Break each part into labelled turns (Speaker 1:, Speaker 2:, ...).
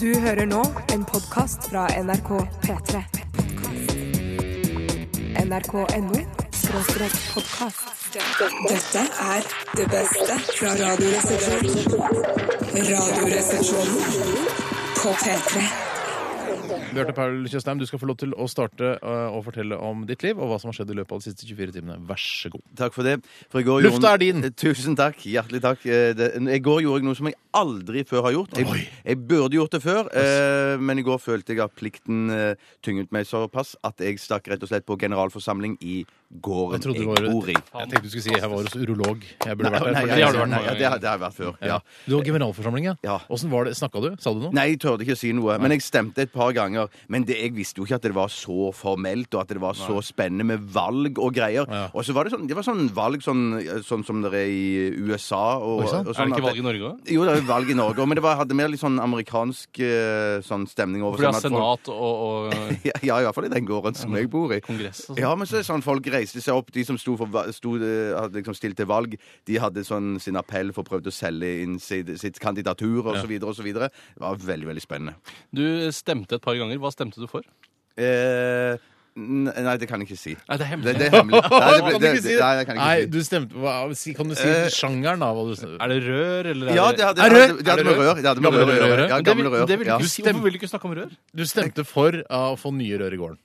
Speaker 1: Du hører nå en podkast fra NRK P3. NRK.no skråstrek podkast. Dette er det beste fra Radioresepsjonen. Radioresepsjonen på P3.
Speaker 2: Bjarte Paul Tjøstheim, du skal få lov til å starte eh, å fortelle om ditt liv og hva som har skjedd i løpet av de siste 24 timene. Vær så god.
Speaker 3: Takk for det. For i går
Speaker 2: Lufta
Speaker 3: gjorde- Eh,
Speaker 2: er din.
Speaker 3: Tusen takk. Hjertelig takk. Eh, det- I går gjorde jeg noe som jeg aldri før har gjort.
Speaker 2: Oi.
Speaker 3: Jeg, jeg burde gjort det før, eh, men i går følte jeg at plikten eh, tynget meg såpass at jeg stakk rett og slett på generalforsamling i gården
Speaker 2: Jeg trodde
Speaker 3: jeg,
Speaker 2: du var
Speaker 3: bor i.
Speaker 2: Jeg tenkte du skulle si jeg var hos urolog. Jeg burde vært der.
Speaker 3: Nei,
Speaker 2: for
Speaker 3: nei,
Speaker 2: det
Speaker 3: nei,
Speaker 2: har du vært
Speaker 3: nei,
Speaker 2: mange
Speaker 3: ja,
Speaker 2: ganger.
Speaker 3: det har det har jeg vært før. Ja.
Speaker 2: Du var generalforsamling, ja?
Speaker 3: Ja.
Speaker 2: Åssen var det? Snakka du? Sa du noe?
Speaker 3: Nei, jeg turte ikke å si noe. Men jeg stemte et par ganger. Men det, jeg visste jo ikke at det var så formelt, og at det var så spennende med valg og greier.
Speaker 2: Ja.
Speaker 3: Og så var det sånn, det var sånn valg sånn, sånn som det er i USA. Og,
Speaker 2: Oi, sant.
Speaker 3: og
Speaker 4: Er
Speaker 3: sånn at
Speaker 4: det ikke valg i Norge òg?
Speaker 3: Jo, det er jo valg i Norge òg, men det var, hadde mer litt sånn amerikansk eh, sånn stemning over
Speaker 4: For det
Speaker 3: sånn
Speaker 4: er
Speaker 3: at folk-
Speaker 4: senat og, og
Speaker 3: Ja, ja, i hvert fall i den gården som jeg bor i.
Speaker 4: kongress og sånn.
Speaker 3: Ja, men så er det sånn folk reiste seg opp, de som sto for, va- sto, eh, hadde liksom stilt til valg, de hadde sånn sin appell for å prøve å selge inn sitt, sitt kandidatur og så videre og så videre. Det var veldig, veldig spennende.
Speaker 4: Du stemte et par ganger. Hva stemte du for?
Speaker 3: Eh, n- nei, det kan jeg ikke si.
Speaker 4: Nei, det
Speaker 3: Det,
Speaker 4: er hemmelig.
Speaker 3: det er hemmelig. Nei, det,
Speaker 2: Kan du
Speaker 3: det,
Speaker 2: ikke si
Speaker 3: det, nei, jeg kan ikke
Speaker 2: Nei,
Speaker 3: si.
Speaker 2: du stemte hva- si- Kan du si
Speaker 3: Eh,
Speaker 2: sjangeren, da? Hva du stemte?
Speaker 4: Er det rør, eller
Speaker 3: Ja,
Speaker 4: er
Speaker 3: det
Speaker 4: det
Speaker 3: hadde,
Speaker 2: Er
Speaker 3: det
Speaker 2: det-
Speaker 3: hadde, det hadde med
Speaker 2: er
Speaker 3: rør. Det hadde med
Speaker 2: Gamle
Speaker 3: rør å
Speaker 2: rør,
Speaker 3: gjøre.
Speaker 2: rør?
Speaker 3: Ja,
Speaker 4: Men det vil,
Speaker 3: gamle rør.
Speaker 4: det vil,
Speaker 3: Ja.
Speaker 4: du si. Hvorfor vil du ikke snakke om rør?
Speaker 2: Du stemte for uh, å få nye rør i gården.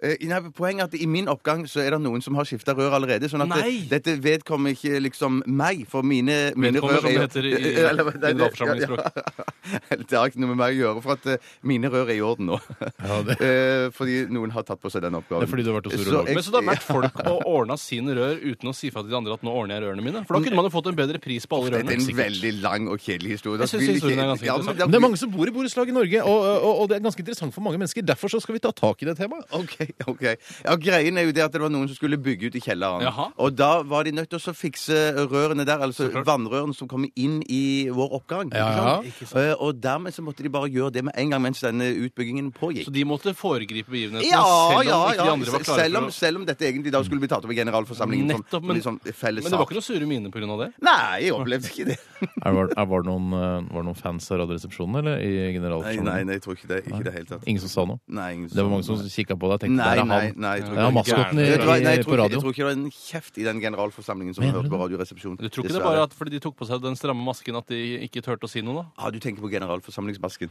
Speaker 3: Eh, Nei, poenget er at I min oppgang så er det noen som har skifta rør allerede. sånn at
Speaker 4: Nei!
Speaker 3: det- dette vedkommer ikke liksom meg, for mine, mine
Speaker 4: Vedkommer,
Speaker 3: rør
Speaker 4: som
Speaker 3: er jo
Speaker 4: det heter i- i
Speaker 3: Eller, nei, det-
Speaker 4: generalforsamlingsspråk.
Speaker 3: ja, ja. Det har ikke noe med meg å gjøre, for at eh, mine rør er i orden nå.
Speaker 2: Ja, det-
Speaker 3: Eh, Fordi noen har tatt på seg den oppgaven.
Speaker 2: Det er fordi du har vært hos
Speaker 3: Så
Speaker 2: urolog.
Speaker 3: jeg-
Speaker 4: Men Så det har vært folk og ordna sine rør uten å si fra til de andre at nå ordner jeg rørene mine? For da kunne man jo fått en bedre pris på
Speaker 3: Det
Speaker 4: alle
Speaker 3: er
Speaker 4: rørene.
Speaker 3: en veldig lang og kjedelig historie.
Speaker 4: Jeg
Speaker 3: Da
Speaker 4: synes
Speaker 3: vil
Speaker 4: historien
Speaker 3: ikke-
Speaker 4: er ganske
Speaker 3: Ja, men
Speaker 4: interessant.
Speaker 3: da-
Speaker 2: Men det er mange som bor i borettslag i Norge, og, og, og det er ganske interessant for mange mennesker. Derfor så skal vi ta tak i det temaet.
Speaker 3: Ok, ok. Ja, Greien er jo det at det var noen som skulle bygge ut i kjelleren.
Speaker 4: Jaha.
Speaker 3: Og da var de nødt til å fikse rørene der, altså
Speaker 4: klart.
Speaker 3: vannrørene som kommer inn i vår oppgang.
Speaker 2: Ja, ja.
Speaker 3: Ikke sant? Eh, Og dermed så måtte de bare gjøre det med en gang mens denne utbyggingen pågikk.
Speaker 4: Så de måtte foregripe begivenhetene
Speaker 3: Ja,
Speaker 4: selv om
Speaker 3: ja,
Speaker 4: ikke de
Speaker 3: ja.
Speaker 4: andre var klare
Speaker 3: Selv om,
Speaker 4: for å
Speaker 3: selv om dette egentlig da skulle bli tatt opp i generalforsamlingen
Speaker 4: Nettopp,
Speaker 3: som
Speaker 4: men-
Speaker 3: liksom felles
Speaker 4: Men det
Speaker 3: sak.
Speaker 4: var ikke noe sure mine pga. det?
Speaker 3: Nei, jeg opplevde ikke det.
Speaker 2: Er, var, er, var, det noen, eh, var det noen fans av Radioresepsjonen, eller? I
Speaker 3: Nei,
Speaker 2: generalforsamlingen?
Speaker 3: nei, nei, jeg tror ikke det. Ikke i det hele tatt.
Speaker 2: Ingen som sa noe?
Speaker 3: Nei, ingen
Speaker 2: Det var mange som
Speaker 3: Nei,
Speaker 2: kikka på deg og tenkte der
Speaker 3: nei,
Speaker 2: er
Speaker 3: nei,
Speaker 2: han.
Speaker 3: jeg tror
Speaker 2: Det er
Speaker 3: ikke-
Speaker 2: maskoten i,
Speaker 3: Vet du hva? Nei,
Speaker 2: i, på
Speaker 3: jeg tror ikke- Jeg
Speaker 2: radio.
Speaker 3: tror ikke det var en kjeft i den generalforsamlingen som
Speaker 2: Mener du
Speaker 3: hørte på Radioresepsjonen.
Speaker 4: Du tror ikke det
Speaker 3: dessverre.
Speaker 4: bare at fordi de tok på seg den stramme masken at de ikke turte å si noe, da?
Speaker 3: Ah, du tenker på generalforsamlingsmasken?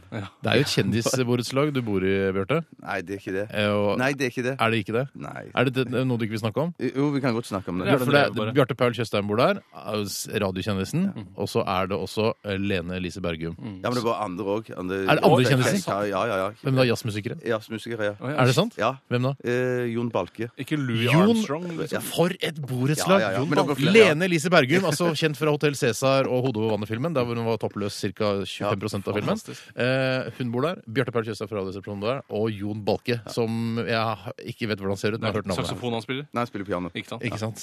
Speaker 2: Det er jo et kjendisborettslag du bor i, Bjarte.
Speaker 3: Nei, det er ikke det.
Speaker 2: Eh, og-
Speaker 3: Nei, det er ikke det.
Speaker 2: Er det ikke det?
Speaker 3: Nei.
Speaker 2: Er det, det noe du ikke vil snakke om?
Speaker 3: Jo, vi kan godt snakke om
Speaker 4: Ja,
Speaker 3: det.
Speaker 2: For
Speaker 4: det
Speaker 2: det,
Speaker 4: er det bare.
Speaker 2: Bjarte Paul Tjøstheim bor der, eh, s- radiokjendisen. Og så er det også eh, Lene Elise Bergum.
Speaker 4: Mm.
Speaker 3: Ja, men det var andre òg.
Speaker 2: Er det andre kjendiser?
Speaker 3: Ja, ja, ja. ja.
Speaker 2: Hvem da? Jazzmusikere?
Speaker 3: Jazzmusikere, ja.
Speaker 4: Å, ja.
Speaker 2: Er det sant?
Speaker 3: ja.
Speaker 2: Hvem da?
Speaker 3: Eh, Jon Balke.
Speaker 4: Ikke Louis
Speaker 2: Jon-
Speaker 4: Armstrong? Liksom.
Speaker 2: For et borettslag!
Speaker 3: Ja, ja, ja.
Speaker 2: Jon
Speaker 3: Men det
Speaker 2: Dahl.
Speaker 3: går flere, ja.
Speaker 2: Lene Elise Bergum, altså kjent fra Hotell Cæsar og Hodet over vannet-filmen, der hvor hun var toppløs ca. 25 av filmen.
Speaker 4: fantastisk.
Speaker 2: Eh, hun bor der. Bjarte Paul Tjøstheim fra Radioresepsjonen bor der. Og Jon Balke, som jeg har- ikke vet hvordan ser ut, men jeg har hørt navnet.
Speaker 4: Saksofon han spiller?
Speaker 3: Nei, han spiller piano.
Speaker 4: Ikke sant?
Speaker 2: Ikke sant?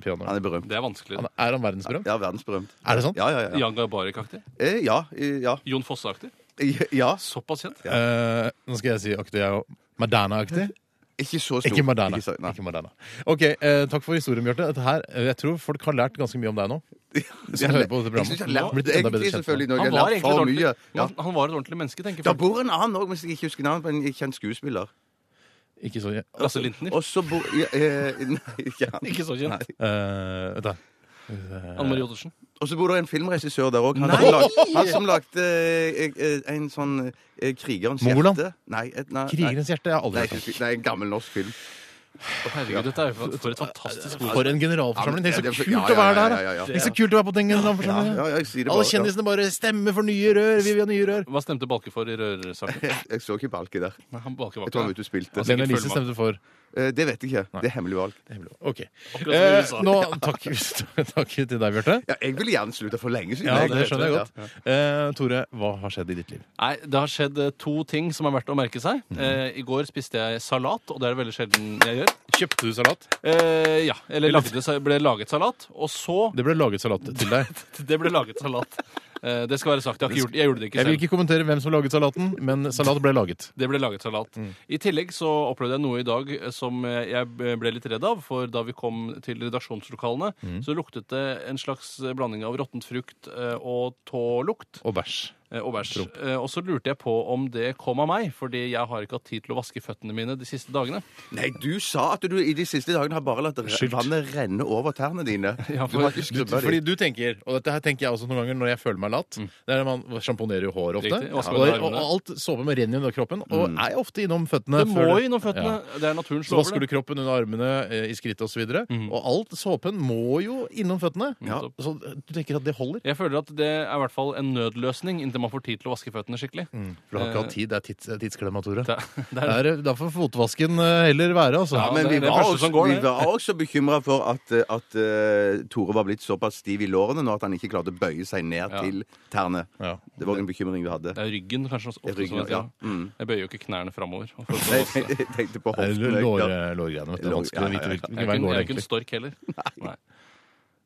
Speaker 2: Piano.
Speaker 3: Han er berømt.
Speaker 4: Det er vanskeligere.
Speaker 2: Han er, er han verdensberømt?
Speaker 3: Mm. Ja, verdensberømt.
Speaker 2: Er det sant?
Speaker 3: Ja, ja, ja. Ja,
Speaker 4: Jan Garbarek-aktig?
Speaker 3: eh, ja. eh, ja.
Speaker 4: Jon Fosse-aktig?
Speaker 3: Eh, ja.
Speaker 4: Såpass kjent?
Speaker 2: Eh, nå skal jeg si aktig, jeg òg. Madonna-aktig?
Speaker 3: Ikke så stor.
Speaker 2: Ikke Madonna.
Speaker 3: så- nei.
Speaker 2: Ikke Madonna. Ok, eh, Takk for historien, Bjarte. Dette her, eh, Jeg tror folk har lært ganske mye om deg nå. Som hører på dette
Speaker 3: Jeg
Speaker 2: programmet.
Speaker 3: synes jeg
Speaker 2: Du har
Speaker 3: har lært
Speaker 2: blitt
Speaker 3: det
Speaker 2: enda bedre kjent
Speaker 3: egentlig
Speaker 2: med
Speaker 3: selvfølgelig
Speaker 2: deg.
Speaker 3: når jeg
Speaker 4: Han
Speaker 3: har
Speaker 4: var,
Speaker 3: lært
Speaker 4: egentlig sånn- et
Speaker 3: for
Speaker 4: ordentlig,
Speaker 3: mye. Ja.
Speaker 4: han, han var et ordentlig menneske, tenker
Speaker 3: Da
Speaker 4: folk.
Speaker 3: bor en annen òg, hvis jeg ikke husker navnet på en kjent skuespiller.
Speaker 2: Ikke så eh,
Speaker 4: Lasse Lintner.
Speaker 3: Og så bor ja, eh, Nei, ikke han.
Speaker 4: Ikke så kjent.
Speaker 2: Vent, da.
Speaker 4: Anne Marie Ottersen.
Speaker 3: Og så bor det en filmregissør der òg. Han,
Speaker 4: Nei!
Speaker 3: som lag- han som lagde eh, eh, en sånn eh, Krigerens
Speaker 2: Mongoland?
Speaker 3: hjerte. Nei, et, nei,
Speaker 2: Krigerens hjerte jeg har
Speaker 3: nei,
Speaker 2: aldri
Speaker 3: nei,
Speaker 2: hørt
Speaker 3: ikke- nei, en gammel norsk film.
Speaker 4: Herregud, dette er jo for, for et fantastisk
Speaker 2: om.
Speaker 4: ord.
Speaker 2: For en generalforsamling! Tenk
Speaker 3: Ja,
Speaker 2: så
Speaker 3: det er-
Speaker 2: kult
Speaker 3: ja,
Speaker 2: å være
Speaker 3: ja,
Speaker 2: der!
Speaker 3: ja, ja,
Speaker 2: da.
Speaker 3: ja.
Speaker 2: Tenk så kult å være på den
Speaker 3: Ja, ja,
Speaker 2: generalforsamlingen!
Speaker 3: jeg sier det
Speaker 2: Alle
Speaker 3: bare, ja.
Speaker 2: kjendisene bare stemmer for nye rør! Vi vil ha nye rør!
Speaker 4: Hva stemte Balke for i rørsaken?
Speaker 3: Jeg så ikke Balke der.
Speaker 4: Nei, Han Balke var
Speaker 3: Jeg tror han var ute
Speaker 4: ikke der.
Speaker 3: og spilte.
Speaker 4: Altså,
Speaker 2: Lene
Speaker 4: ikke
Speaker 2: Elise
Speaker 4: følg
Speaker 2: stemte for
Speaker 3: Eh, det vet jeg ikke. Det er hemmelig valg.
Speaker 2: Hemmelig. Ok.
Speaker 4: som i
Speaker 2: Eh,
Speaker 4: USA.
Speaker 2: nå, takk, takk til deg, Bjarte.
Speaker 3: Ja, jeg ville gjerne slutta for lenge siden.
Speaker 2: Ja,
Speaker 3: jeg.
Speaker 2: det skjønner jeg godt. Eh, Tore, hva har skjedd i ditt liv?
Speaker 4: Nei, Det har skjedd eh, to ting som er verdt å merke seg. Eh, I går spiste jeg salat, og det er det veldig sjelden jeg gjør.
Speaker 2: Kjøpte du salat?
Speaker 4: Eh, ja, Eller lagde, sa- ble laget salat. Og så
Speaker 2: Det ble laget salat til deg.
Speaker 4: Det ble laget salat. Eh, Det skal være sagt. Jeg, har ikke gjort, jeg gjorde det ikke
Speaker 2: Jeg vil
Speaker 4: selv.
Speaker 2: ikke kommentere hvem som laget salaten, men salat ble laget.
Speaker 4: Det ble laget salat.
Speaker 2: Mm.
Speaker 4: I tillegg så opplevde jeg noe i dag eh, som jeg ble litt redd av. For da vi kom til redaksjonslokalene,
Speaker 2: Mm.
Speaker 4: så luktet det en slags blanding av råttent frukt eh, og tålukt
Speaker 2: Og bæsj.
Speaker 4: eh, og bæsj. Eh, Og så lurte jeg på om det kom av meg, fordi jeg har ikke hatt tid til å vaske føttene mine de siste dagene.
Speaker 3: Nei, du sa at du i de siste dagene har bare latt re-
Speaker 2: Skylt.
Speaker 3: vannet renne over tærne dine.
Speaker 4: Ja,
Speaker 3: Du
Speaker 4: for-
Speaker 3: har ikke
Speaker 2: Du,
Speaker 3: skrubba
Speaker 2: fordi
Speaker 3: dem.
Speaker 2: du tenker, og dette her tenker jeg også noen ganger når jeg føler meg lat det er at Man sjamponerer jo håret ofte.
Speaker 4: Mm. Riktig,
Speaker 2: Og,
Speaker 4: og så med
Speaker 2: og, og
Speaker 4: armene. Mm.
Speaker 2: alt såpe med renn under kroppen. Og er ofte innom føttene.
Speaker 4: Det må
Speaker 2: før
Speaker 4: jo innom føttene.
Speaker 2: Ja.
Speaker 4: Det er naturens
Speaker 2: Så vasker
Speaker 4: lover.
Speaker 2: du
Speaker 4: det.
Speaker 2: kroppen under armene, eh, i skrittet osv. videre Og alt såpen må jo innom føttene.
Speaker 4: Ja.
Speaker 2: Så du tenker at det holder?
Speaker 4: Jeg føler at det er i hvert fall en nødløsning inntil man får tid til å vaske føttene skikkelig.
Speaker 2: For du har ikke hatt tid. Det er tids, eh, tidsklemma, Tore.
Speaker 4: Det, det er,
Speaker 2: Det er- Da får fotvasken eh, heller være, altså.
Speaker 4: Ja,
Speaker 3: Men vi
Speaker 4: det er det
Speaker 3: var
Speaker 4: første
Speaker 3: også,
Speaker 4: som går,
Speaker 3: vi
Speaker 4: det.
Speaker 3: var også bekymra for at, eh, at eh, Tore var blitt såpass stiv i lårene nå at han ikke klarte å bøye seg ned
Speaker 4: Ja.
Speaker 3: til tærne.
Speaker 2: Ja.
Speaker 3: Det var en bekymring vi hadde.
Speaker 4: det er ryggen kanskje også. ofte sånn,
Speaker 3: Ryggen,
Speaker 4: som jeg
Speaker 3: ja. Mm.
Speaker 4: sier. Jeg bøyer jo ikke knærne framover. og for å
Speaker 3: Nei,
Speaker 4: få vaske.
Speaker 3: Jeg tenkte på
Speaker 2: Det er
Speaker 3: hoften. jeg,
Speaker 2: lår-
Speaker 3: ja.
Speaker 2: Lårgreiene. vet du. Det er
Speaker 3: Lår-
Speaker 2: vanskelig å
Speaker 3: ja,
Speaker 2: vite
Speaker 3: ja, ja.
Speaker 2: hvilken
Speaker 4: Jeg
Speaker 2: vei
Speaker 4: er ikke-
Speaker 2: går
Speaker 4: jeg
Speaker 2: det
Speaker 4: er ikke en
Speaker 2: egentlig.
Speaker 4: stork heller. Nei.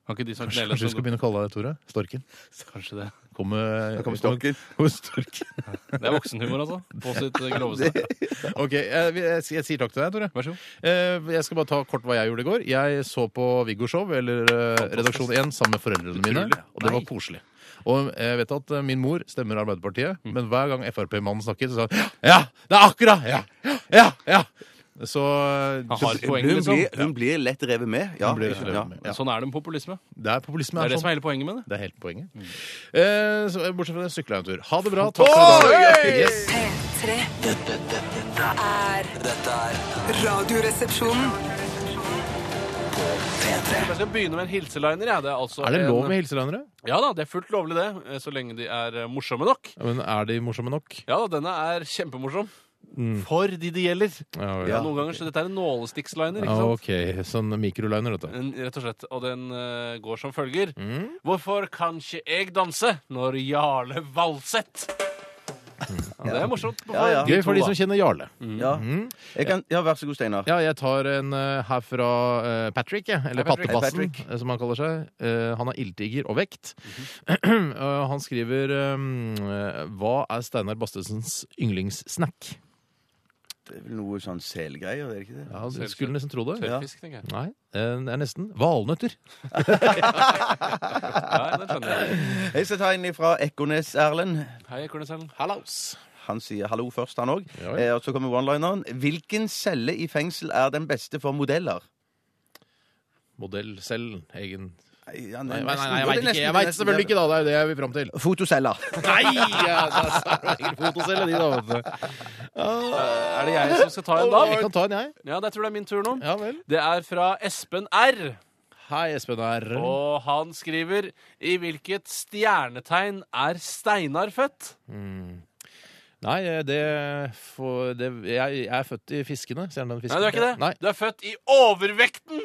Speaker 4: Har ikke de som kneler
Speaker 2: Kanskje vi skal begynne å kalle deg Tore? Storken?
Speaker 4: Kanskje det.
Speaker 2: Kom med,
Speaker 3: Da kommer storken.
Speaker 2: Kom med storken.
Speaker 4: Det er voksenhumor, altså. På sitt eh, groveste.
Speaker 2: OK, jeg, jeg, jeg sier takk til deg, Tore.
Speaker 4: Vær så god.
Speaker 2: Eh, Jeg skal bare ta kort hva jeg gjorde i går. Jeg så på Viggo-show, eller eh, Redaksjon 1, sammen med foreldrene mine.
Speaker 4: Utrolig.
Speaker 2: Og det var
Speaker 4: Nei.
Speaker 2: koselig. Og jeg vet at eh, min mor stemmer Arbeiderpartiet,
Speaker 4: Mm.
Speaker 2: men hver gang Frp-mannen snakket, så sa hun Ja! Det er akkurat! Ja! Ja! ja. Så eh,
Speaker 4: Han har et poeng,
Speaker 3: Hun
Speaker 4: liksom.
Speaker 3: blir, hun blir lett revet med. Ja.
Speaker 2: blir det,
Speaker 3: Ja.
Speaker 2: ja.
Speaker 4: Sånn er det med populisme.
Speaker 2: det er populisme.
Speaker 4: Det er Mm. det som
Speaker 2: sånn.
Speaker 4: er hele poenget med det.
Speaker 2: det er helt poenget. Eh, så, eh, bortsett fra det, sykla jeg en tur. Ha det bra. Takk for i dag. Yes.
Speaker 1: P3
Speaker 5: Dette, dette, dette,
Speaker 1: er
Speaker 5: dette er
Speaker 1: Radioresepsjonen.
Speaker 5: P3.
Speaker 4: Jeg skal begynne med en hilseliner. Ja. Det er, altså
Speaker 2: Er det lov
Speaker 4: en-
Speaker 2: med hilselinere?
Speaker 4: Ja da, det er fullt lovlig, det. eh, Så lenge de er eh, morsomme nok.
Speaker 2: Ja, Men er de morsomme nok?
Speaker 4: Ja da, denne er kjempemorsom. For de det gjelder.
Speaker 2: Mm. Ja,
Speaker 4: Ja, noen ganger, så Dette er en nålestikksliner. ikke
Speaker 2: Ah,
Speaker 4: sant? Mm.
Speaker 2: OK. Sånn mikroliner, Mm. dette.
Speaker 4: En- Rett og slett. Og den eh, går som følger. Hvorfor kan ikke jeg danse når Jarle Valseth ja, Det er morsomt.
Speaker 3: Ja, ja.
Speaker 2: Gøy for de som kjenner Jarle.
Speaker 3: Ja. Mm.
Speaker 4: Mm.
Speaker 3: Jeg kan, ja, vær så god, Steinar.
Speaker 2: Ja, jeg tar en eh, her fra eh, Patrick, jeg. Eller
Speaker 4: Hei, Patrick.
Speaker 2: Pattebassen,
Speaker 3: Hei, Patrick.
Speaker 2: eh, som han kaller seg. Eh, han er ildtiger og vekt. Eh, han skriver ehm, eh, Hva er Steinar Bastesens yndlingssnack?
Speaker 3: Det er vel noe sånn selgreier, er det ikke det?
Speaker 2: Ja, du skulle nesten tro det.
Speaker 4: Tørrfisk, tenker jeg.
Speaker 2: Nei, eh, det er nesten. Valnøtter.
Speaker 4: Ja, den skjønner jeg.
Speaker 3: Jeg skal ta en fra Ekornes, Erlend.
Speaker 4: Hei, Kornesellen.
Speaker 2: Hallows.
Speaker 3: Han sier hallo først, han òg.
Speaker 2: Ja, ja.
Speaker 3: Eh, og så kommer one-lineren. Hvilken celle i fengsel er den beste for modeller?
Speaker 2: Modell selv. Egen
Speaker 3: Nei, ja, det
Speaker 2: Nei,
Speaker 3: er
Speaker 2: nei,
Speaker 3: nesten-
Speaker 2: nei jeg
Speaker 3: jo, det
Speaker 2: veit
Speaker 3: er
Speaker 2: ikke. Jeg
Speaker 3: nesten-
Speaker 2: vet selvfølgelig ikke, da. Det er jo det jeg vil fram til.
Speaker 3: Fotoceller.
Speaker 2: Nei! Ja, det er særlig fotocelle, de, da, vet du.
Speaker 4: Er det jeg som skal ta en,
Speaker 2: Jeg
Speaker 4: da?
Speaker 2: kan ta en, jeg.
Speaker 4: Ja, det tror jeg er min tur nå.
Speaker 2: Ja vel.
Speaker 4: Det er fra Espen R.
Speaker 2: Hei, Espen R.
Speaker 4: Og han skriver I hvilket stjernetegn er Steinar født?
Speaker 2: Nei, eh, det, får- det jeg, jeg er født i fiskene. Ser den
Speaker 4: Nei,
Speaker 2: fisken?
Speaker 4: du er ikke det.
Speaker 2: Nei,
Speaker 4: Du er født i overvekten!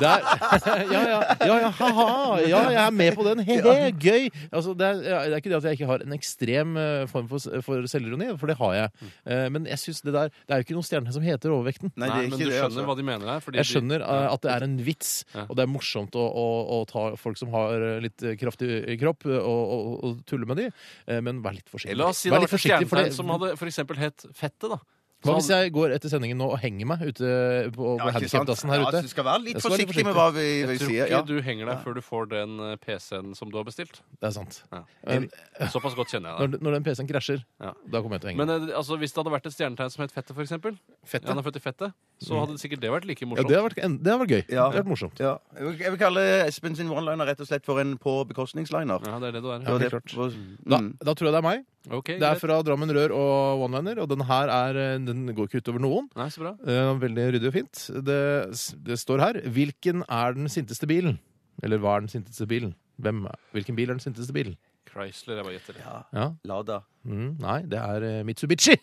Speaker 2: det er, ja, ja, ja, ja, ha-ha. Ja, jeg er med på den. He-he, gøy. Altså, det, er, det er ikke det at jeg ikke har en ekstrem eh, form for, for selvironi, for det har
Speaker 4: Mm.
Speaker 2: jeg. Eh, Men jeg synes det der Det er jo ikke noen stjerne som heter Overvekten.
Speaker 3: Nei, det er
Speaker 4: men
Speaker 3: ikke
Speaker 4: du
Speaker 3: det.
Speaker 4: skjønner
Speaker 3: Altså.
Speaker 4: hva de mener her. fordi
Speaker 2: Jeg
Speaker 4: de-
Speaker 2: skjønner eh, at det er en vits,
Speaker 4: Ja.
Speaker 2: og det er morsomt å, å, å ta folk som har eh, litt eh, kraftig eh, kropp, eh, og, og, og tulle med de, eh, men vær litt forsiktig.
Speaker 4: La oss si det
Speaker 2: Vær litt
Speaker 4: hadde vært et
Speaker 2: forsiktig, for
Speaker 4: stjernetegn
Speaker 2: det-
Speaker 4: som hadde for eksempel het Fettet, da.
Speaker 2: Hva hvis jeg går etter sendingen nå og henger meg ute på
Speaker 3: Ja,
Speaker 2: ja,
Speaker 3: ikke sant?
Speaker 2: handikapdassen her
Speaker 3: Ja,
Speaker 2: ute?
Speaker 3: så skal være litt
Speaker 2: Jeg skal være litt
Speaker 3: forsiktig med hva vi, vi
Speaker 4: Jeg tror
Speaker 3: sier.
Speaker 4: ikke
Speaker 3: Ja.
Speaker 4: du henger deg før du får den eh, PC-en som du har bestilt.
Speaker 2: Det er sant.
Speaker 4: Ja.
Speaker 2: Men
Speaker 4: Såpass godt kjenner jeg deg.
Speaker 2: Ehm, når, når den PC-en krasjer,
Speaker 4: Ja.
Speaker 2: da kommer jeg til å henge
Speaker 4: Men eh, altså, hvis det hadde vært et stjernetegn som het Fettet, for eksempel
Speaker 2: Fettet?
Speaker 4: Ja, han er født i Fettet, så hadde det sikkert det vært like
Speaker 2: Ja,
Speaker 4: morsomt.
Speaker 2: det har vært, en- det har vært gøy.
Speaker 3: Ja.
Speaker 2: Det har vært morsomt.
Speaker 3: Ja. Jeg vil- Jeg vil kalle Espen sin one-liner rett og slett for en på bekostningsliner.
Speaker 4: Ja, det er det du er.
Speaker 2: Ja.
Speaker 3: det,
Speaker 2: helt klart.
Speaker 3: var-
Speaker 2: Da,
Speaker 3: mm.
Speaker 2: da tror jeg det er meg.
Speaker 4: Ok,
Speaker 2: Det er
Speaker 4: greit.
Speaker 2: fra Drammen Rør og One-Liner, og den her er, eh, den går ikke utover noen.
Speaker 4: Nei, så bra.
Speaker 2: Eh, Veldig ryddig og fint. Det, det står her Hvilken er den sinteste bilen? Eller hva er den sinteste bilen? Hvem, er- hvilken bil er den sinteste bilen?
Speaker 4: Chrysler, jeg bare gjetter. Ja.
Speaker 2: Ja.
Speaker 3: Lada.
Speaker 2: Mm, nei, det er eh, Mitsubishi!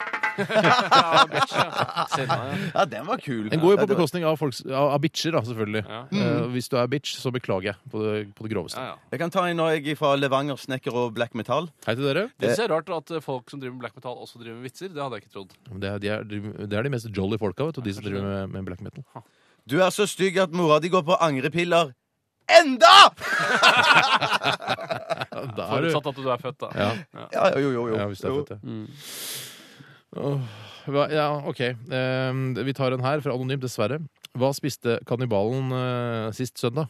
Speaker 4: bitch, ja. Senna, ja.
Speaker 3: Ja, den var kul.
Speaker 2: Den går jo
Speaker 3: Ja,
Speaker 2: på
Speaker 3: det var-
Speaker 2: bekostning av, folks, av, av bitcher, da, selvfølgelig.
Speaker 4: Ja.
Speaker 2: Eh, hvis du er bitch, så beklager jeg på det, på det groveste.
Speaker 4: Ja, ja.
Speaker 3: Jeg kan ta en når jeg er fra Levanger Snekker og Black Metal.
Speaker 2: Hei til dere.
Speaker 4: Det synes jeg er rart at eh, folk som driver med black metal, også driver med vitser. Det hadde jeg ikke trodd.
Speaker 2: Det er, de er, det er de mest jolly folka, vet du, de som driver med, med black metal.
Speaker 3: Du er så stygg at mora di går på angrepiller. Enda!
Speaker 2: Da er du
Speaker 4: Forutsatt at du er født, da. Mm.
Speaker 2: Ja.
Speaker 3: Ja, jo, jo, jo.
Speaker 2: Ja, hvis du er
Speaker 3: jo.
Speaker 2: født, ja. Åh, hva- ja, OK. Ehm, vi tar en her fra Anonym, dessverre. Hva spiste kannibalen eh, sist søndag?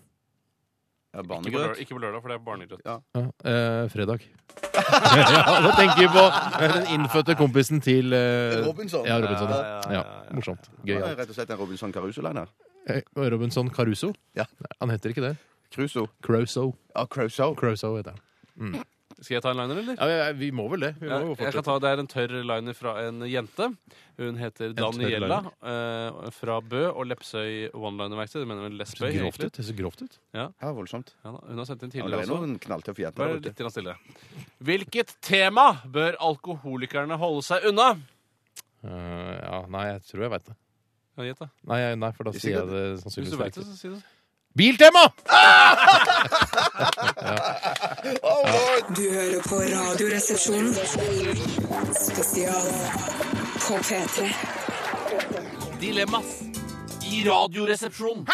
Speaker 3: Ja,
Speaker 4: Ikke på, lørdag,
Speaker 3: barnegrøt.
Speaker 4: ikke på lørdag, for det er barnegrøt.
Speaker 3: Ja.
Speaker 2: Ja, eh, fredag. ja, nå tenker vi på den innfødte kompisen til eh,
Speaker 3: Robinson.
Speaker 2: Ja, Robinson.
Speaker 4: Ja, ja, ja,
Speaker 2: Ja,
Speaker 4: ja.
Speaker 2: morsomt. Gøy.
Speaker 3: Ja,
Speaker 2: alt.
Speaker 3: Rett og slett en Robinson Caruso-liner.
Speaker 2: Eh, Robinson Caruso?
Speaker 3: Ja.
Speaker 2: Nei, Han heter ikke det.
Speaker 3: Crusoe.
Speaker 2: Croso.
Speaker 3: Ja, Crusoe.
Speaker 2: Croso heter han.
Speaker 4: Skal jeg ta en liner, eller?
Speaker 2: Ja, ja, vi må vel det. Vi må jo
Speaker 4: jeg kan
Speaker 2: fortsette.
Speaker 4: ta, Det er en tørr liner fra en jente. Hun heter
Speaker 2: tørr
Speaker 4: Daniela eh, fra Bø og Lepsøy one-liner-verksted. Det mener vel
Speaker 2: Det ser
Speaker 4: Lesbøy,
Speaker 2: grovt
Speaker 4: egentlig.
Speaker 2: ut. Det ser grovt ut.
Speaker 3: Ja, voldsomt.
Speaker 4: Ja, da. hun har sendt inn
Speaker 3: Ja, det
Speaker 4: tidligere
Speaker 3: er
Speaker 4: også.
Speaker 3: noen knalltøffe jenter
Speaker 4: Vær
Speaker 3: der ute.
Speaker 4: litt grann stille. Hvilket tema bør alkoholikerne holde seg unna?
Speaker 2: Eh, ja, nei, jeg tror jeg veit det.
Speaker 4: Kan jeg gjette?
Speaker 2: Nei, jeg- nei, for da
Speaker 3: Hvis
Speaker 2: sier jeg
Speaker 3: ikke-
Speaker 2: det
Speaker 4: Hvis du
Speaker 2: sannsynligvis
Speaker 4: vet
Speaker 2: ikke.
Speaker 4: det, så si det.
Speaker 2: Biltema!
Speaker 1: Du hører på Radioresepsjonen. Spesial på P3.
Speaker 4: Dilemmas i Radioresepsjonen.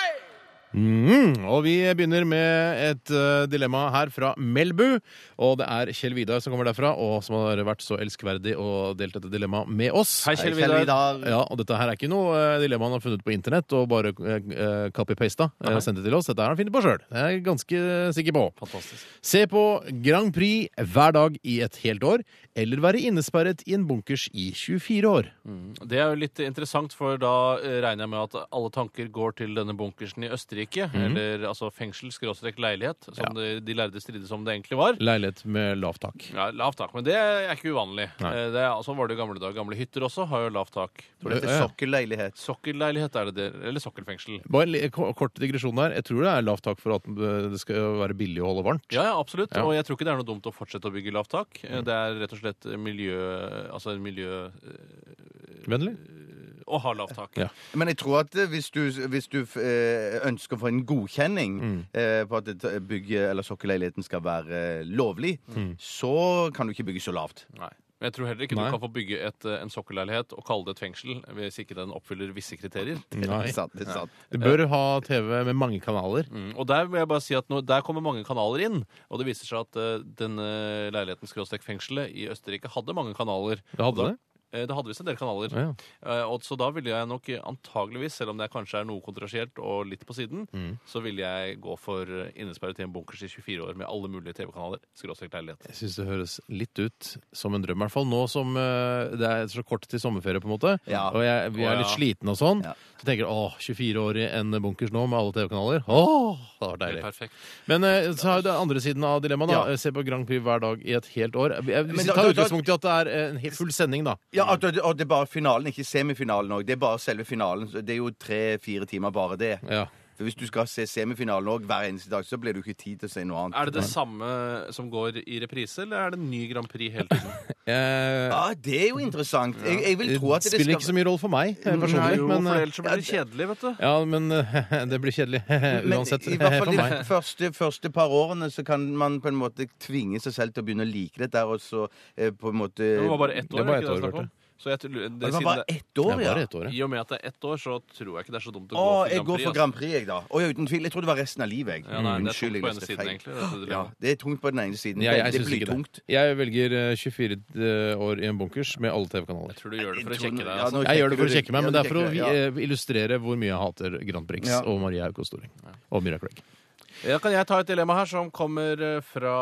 Speaker 2: Mm, og vi begynner med et eh, dilemma her fra Melbu. Og det er Kjell Vidar som kommer derfra, og som har vært så elskverdig og delt dette dilemmaet med oss.
Speaker 4: Hei, Kjell Vidar.
Speaker 2: Ja, og dette her er ikke noe eh, dilemma han har funnet på internett og bare eh, copy-pasta og sendt det til oss. Dette har han funnet på sjøl. Det er jeg ganske sikker på.
Speaker 4: Fantastisk.
Speaker 2: Se på Grand Prix hver dag i et helt år, eller være innesperret i en bunkers i 24 år.
Speaker 4: Det er jo litt interessant, for da eh, regner jeg med at alle tanker går til denne bunkersen i Østerrike.
Speaker 2: Mhm.
Speaker 4: Eller altså fengsel, skråstrek leilighet, som de, de lærde strides om det egentlig var.
Speaker 2: Leilighet med lavt tak.
Speaker 4: Ja, Lavt tak, men det er ikke uvanlig.
Speaker 2: Nei.
Speaker 4: Eh, Det er, altså var det i gamle dager. Gamle hytter også har jo lavt tak.
Speaker 3: For dette er sokkelleilighet.
Speaker 4: Sokkelleilighet er det der, eller sokkelfengsel.
Speaker 2: Bare en li- ko- kort digresjon der. Jeg tror det er lavt tak for at eh, det skal være billig å holde varmt.
Speaker 4: Ja, ja, absolutt.
Speaker 2: Ja. Mm.
Speaker 4: Og jeg tror ikke det er noe dumt å fortsette å bygge lavt tak. Eh, Det er rett og slett miljø... Altså miljø...
Speaker 2: Vennlig.
Speaker 4: Å ha lavt tak.
Speaker 2: Ja.
Speaker 3: Men jeg tror at eh, hvis du, hvis du eh, ønsker å få en godkjenning
Speaker 2: Mm.
Speaker 3: eh, på at et bygg eller sokkelleiligheten skal være eh, lovlig,
Speaker 2: Mm.
Speaker 3: så kan du ikke bygge så lavt.
Speaker 4: Nei. Men jeg tror heller ikke
Speaker 2: Nei.
Speaker 4: du kan få bygge et, eh, en sokkelleilighet og kalle det et fengsel hvis ikke den oppfyller visse kriterier.
Speaker 2: Nei.
Speaker 3: Det er sant, det er sant.
Speaker 2: Du bør ha TV med mange kanaler.
Speaker 4: Mm. Og der vil jeg bare si at nå, der kommer mange kanaler inn, og det viser seg at eh, denne leiligheten skråstrek fengselet i Østerrike hadde mange kanaler.
Speaker 2: Det hadde det?
Speaker 4: Eh, Det hadde visst en del kanaler.
Speaker 2: Ja.
Speaker 4: Eh, Og så da ville jeg nok antageligvis, selv om det kanskje er noe kontrasielt og litt på siden,
Speaker 2: Mm.
Speaker 4: så ville jeg gå for eh, innesperret i en bunkers i 24 år med alle mulige TV-kanaler. Skråstrek leilighet.
Speaker 2: Jeg syns det høres litt ut som en drøm, i hvert fall nå som eh, det er så kort til sommerferie, på en måte.
Speaker 3: Ja.
Speaker 2: Og jeg, vi er
Speaker 4: Å, ja.
Speaker 2: litt slitne og sånn.
Speaker 3: Ja.
Speaker 2: Så tenker jeg åh, 24 år i en bunkers nå med alle TV-kanaler. Åh, det var
Speaker 4: Helt
Speaker 2: deilig.
Speaker 4: perfekt.
Speaker 2: Men eh, så har jo det andre siden av dilemmaet, da.
Speaker 3: Ja.
Speaker 2: Eh, Se på Grand Prix hver dag i et helt år. Jeg, jeg, hvis
Speaker 3: Men
Speaker 2: vi
Speaker 3: da-
Speaker 2: tar
Speaker 3: da- da-
Speaker 2: utgangspunkt i at det er eh, en helt full sending, da.
Speaker 3: Ja, at- og det er bare finalen, ikke semifinalen òg. Det er bare selve finalen. så Det er jo tre-fire timer bare det.
Speaker 2: Ja.
Speaker 3: For Hvis du skal se semifinalen òg hver eneste dag, så blir det jo ikke tid til å se noe annet.
Speaker 4: Er det det samme som går i reprise, eller er det en ny Grand Prix hele tiden?
Speaker 2: Eh,
Speaker 3: Ja, det er jo interessant. Jeg, jeg vil tro at
Speaker 2: det
Speaker 3: det
Speaker 2: spiller ikke så
Speaker 3: skal Mm,
Speaker 2: mye rolle for meg eh,
Speaker 4: Nei,
Speaker 2: personlig,
Speaker 4: jo,
Speaker 2: men
Speaker 4: for
Speaker 2: eh,
Speaker 4: ellers så blir det kjedelig, vet du.
Speaker 2: ja, men eh, det blir kjedelig uansett.
Speaker 3: Men i hvert
Speaker 2: for
Speaker 3: fall
Speaker 2: meg.
Speaker 3: de første, første par årene så kan man på en måte tvinge seg selv til å begynne å like det der, og så eh, på en måte
Speaker 4: Det var bare ett år.
Speaker 2: Det var
Speaker 4: ikke
Speaker 2: ett år,
Speaker 4: snakk om?
Speaker 2: Bjarte.
Speaker 4: Så jeg, tror- det,
Speaker 3: Det var
Speaker 4: siden
Speaker 3: bare
Speaker 4: det,
Speaker 3: ett år,
Speaker 2: Det er
Speaker 3: ja. Mm,
Speaker 2: bare ett år, ja.
Speaker 4: I og med at det er ett år, så tror jeg ikke det er så dumt å
Speaker 3: Å,
Speaker 4: gå for
Speaker 3: jeg går for
Speaker 4: ass.
Speaker 3: Grand Prix, jeg, da. Å, ja, uten tvil. Jeg tror det var resten av livet, jeg.
Speaker 4: Ja, nei, det er
Speaker 3: Unnskyld,
Speaker 4: tungt
Speaker 3: jeg
Speaker 4: på ene
Speaker 3: leste
Speaker 4: siden,
Speaker 3: feil.
Speaker 4: egentlig. dette
Speaker 3: Ja,
Speaker 4: dilemmaet.
Speaker 3: det er tungt på den ene siden.
Speaker 2: Ja, jeg
Speaker 3: det
Speaker 2: synes
Speaker 3: blir
Speaker 2: ikke
Speaker 3: tungt.
Speaker 2: det. Jeg velger eh, 24 år i en bunkers med alle TV-kanaler.
Speaker 4: Jeg tror du gjør det for å
Speaker 3: Jeg tror-
Speaker 4: sjekke deg.
Speaker 3: ja,
Speaker 4: Altså.
Speaker 3: nå
Speaker 2: Jeg gjør det for å
Speaker 3: du
Speaker 2: sjekke meg, men
Speaker 3: Ja,
Speaker 2: det
Speaker 3: du
Speaker 2: er for å
Speaker 3: sjekker
Speaker 2: vi-
Speaker 3: det, ja.
Speaker 2: eh, illustrere hvor mye jeg hater Grand Prix
Speaker 3: Ja.
Speaker 2: og Maria Auko Storing. Og Myra Craig.
Speaker 4: Ja, kan jeg ta et dilemma her som kommer eh, fra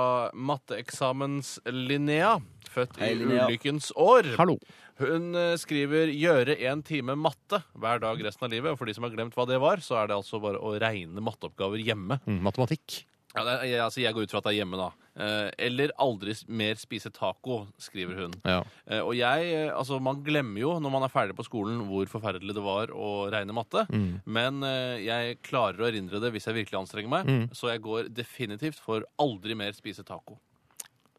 Speaker 4: matteeksamens Linnea, født
Speaker 3: Hei,
Speaker 4: i
Speaker 3: Linnea.
Speaker 4: ulykkens år.
Speaker 2: Hallo.
Speaker 4: Hun eh, skriver 'gjøre en time matte hver dag resten av livet'. Og for de som har glemt hva det var, så er det altså bare å regne matteoppgaver hjemme.
Speaker 2: Mm, matematikk.
Speaker 4: Ja, det, er- jeg, altså, jeg går ut fra at det er hjemme, da. Eh, eller aldri s- mer spise taco, skriver hun.
Speaker 2: Ja.
Speaker 4: Eh, Og jeg, eh, altså Man glemmer jo når man er ferdig på skolen, hvor forferdelig det var å regne matte. Men eh, jeg klarer å erindre det hvis jeg virkelig anstrenger meg. Så jeg går definitivt for aldri mer spise taco.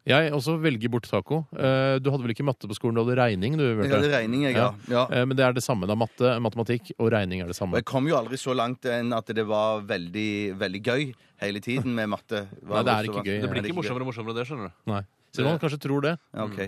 Speaker 2: Jeg også velger bort taco. Eh, Du hadde vel ikke matte på skolen, du hadde regning? Du,
Speaker 3: Jeg hadde
Speaker 2: Bjarte?
Speaker 3: regning, jeg, ja. ja.
Speaker 2: Eh, Men det er det samme. da Matte, matematikk og regning er det
Speaker 3: Og
Speaker 2: samme.
Speaker 3: jeg kom jo aldri så langt enn at det var veldig, veldig gøy. hele tiden med matte.
Speaker 2: Nei, det er ikke gøy.
Speaker 4: Det blir
Speaker 3: Er det
Speaker 4: ikke
Speaker 3: ikke
Speaker 4: morsommere og morsommere, det, skjønner du.
Speaker 2: Nei. Selv om man kanskje tror det.
Speaker 3: Ja, ok.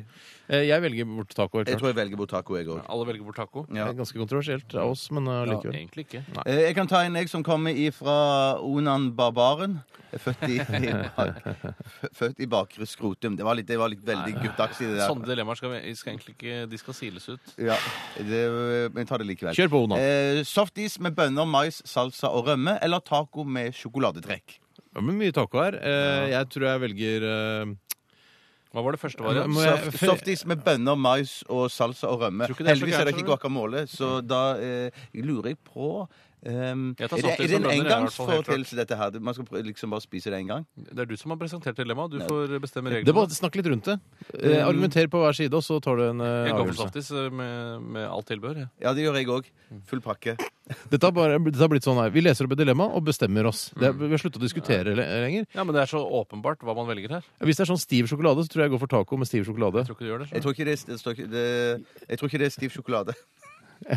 Speaker 2: Eh, Jeg velger bort taco. helt
Speaker 3: Jeg
Speaker 2: klart.
Speaker 3: tror jeg velger bort taco, jeg òg.
Speaker 4: Alle velger bort taco.
Speaker 2: Det
Speaker 3: Ja.
Speaker 2: er Ganske kontroversielt av oss, men eh,
Speaker 4: Ja,
Speaker 2: likevel.
Speaker 4: egentlig ikke.
Speaker 3: Eh, Jeg kan ta en jeg som kommer ifra Onan Barbaren. Jeg er Født i, i, bak, fø- født i bakre skrotum. Det var litt, det var litt veldig gutteaktig, det der.
Speaker 4: Sånne dilemmaer skal, vi- skal egentlig ikke De skal siles ut.
Speaker 3: Ja, det, men jeg tar det likevel.
Speaker 2: Kjør på, Onan.
Speaker 3: Eh, softis med bønner, mais, salsa og rømme, eller taco med sjokoladetrekk?
Speaker 2: Ja, men mye taco her. Eh, Jeg tror jeg velger eh,
Speaker 4: Hva var det første variant?
Speaker 2: Må jeg-
Speaker 3: Soft, softis med bønner, mais og salsa og rømme.
Speaker 4: Tror ikke det er så
Speaker 3: Heldigvis er
Speaker 4: gærent,
Speaker 3: det ikke
Speaker 4: tror du?
Speaker 3: guacamole, så da eh, lurer jeg på ehm,
Speaker 4: Jeg
Speaker 3: er,
Speaker 4: tar
Speaker 3: det,
Speaker 4: softis
Speaker 3: er det
Speaker 4: og
Speaker 3: en
Speaker 4: bønner, jeg, i hvert fall, helt
Speaker 3: engangsforeteelse, dette her? Man skal prø- liksom bare spise det én gang?
Speaker 4: Det er du som har presentert dilemmaet. Du får bestemme
Speaker 2: Det er
Speaker 4: reglene.
Speaker 2: bare Snakk litt rundt det. Eh,
Speaker 3: Um,
Speaker 2: Argumenter på hver side, og så tar du en eh,
Speaker 4: Jeg går for
Speaker 2: avgjørelse.
Speaker 4: softis eh, med, med alt tilbehør. jeg.
Speaker 3: Ja, det gjør jeg òg. Full pakke.
Speaker 2: Dette har, bare, dette har blitt sånn her. Vi leser opp et dilemma og bestemmer oss. Det er, vi har sluttet å diskutere le- lenger.
Speaker 4: Ja, Men det er så åpenbart hva man velger her.
Speaker 2: Hvis det er sånn stiv sjokolade, så tror jeg jeg går for taco med stiv sjokolade.
Speaker 4: Jeg tror ikke du gjør det.
Speaker 3: Jeg tror ikke det, det, står ikke- det, jeg tror ikke det er stiv sjokolade.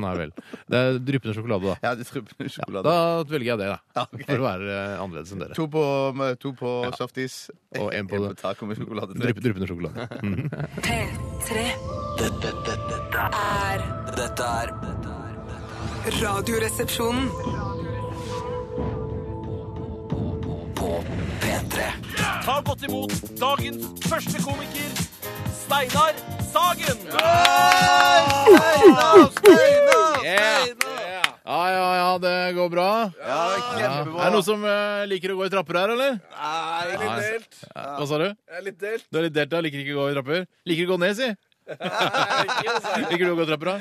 Speaker 2: Nei vel. Det er dryppende sjokolade, da.
Speaker 3: Ja, det er strupen sjokolade.
Speaker 2: Da velger jeg det, da.
Speaker 3: Ja, ok.
Speaker 2: For å være eh, annerledes enn dere.
Speaker 3: To på, to på softis.
Speaker 2: Og en på-
Speaker 3: taco med sjokolade.
Speaker 2: Drypp- Dryppende sjokolade. Mm.
Speaker 1: P3
Speaker 5: Dette, dette, dette er-
Speaker 1: er
Speaker 5: dette er dette er- dette er
Speaker 1: Radioresepsjonen.
Speaker 5: På P3
Speaker 4: Ta godt imot dagens første komiker, Steinar Sagen!
Speaker 2: Ja, ja, ja, det går bra. Ja. Er det noen som eh, liker å gå i trapper her, eller? Nei, delt. Hva sa du? Jeg er litt delt. Du er litt delt, ja. Liker ikke å gå i trapper? Liker du å gå ned, si? Liker du å gå i trapper, da?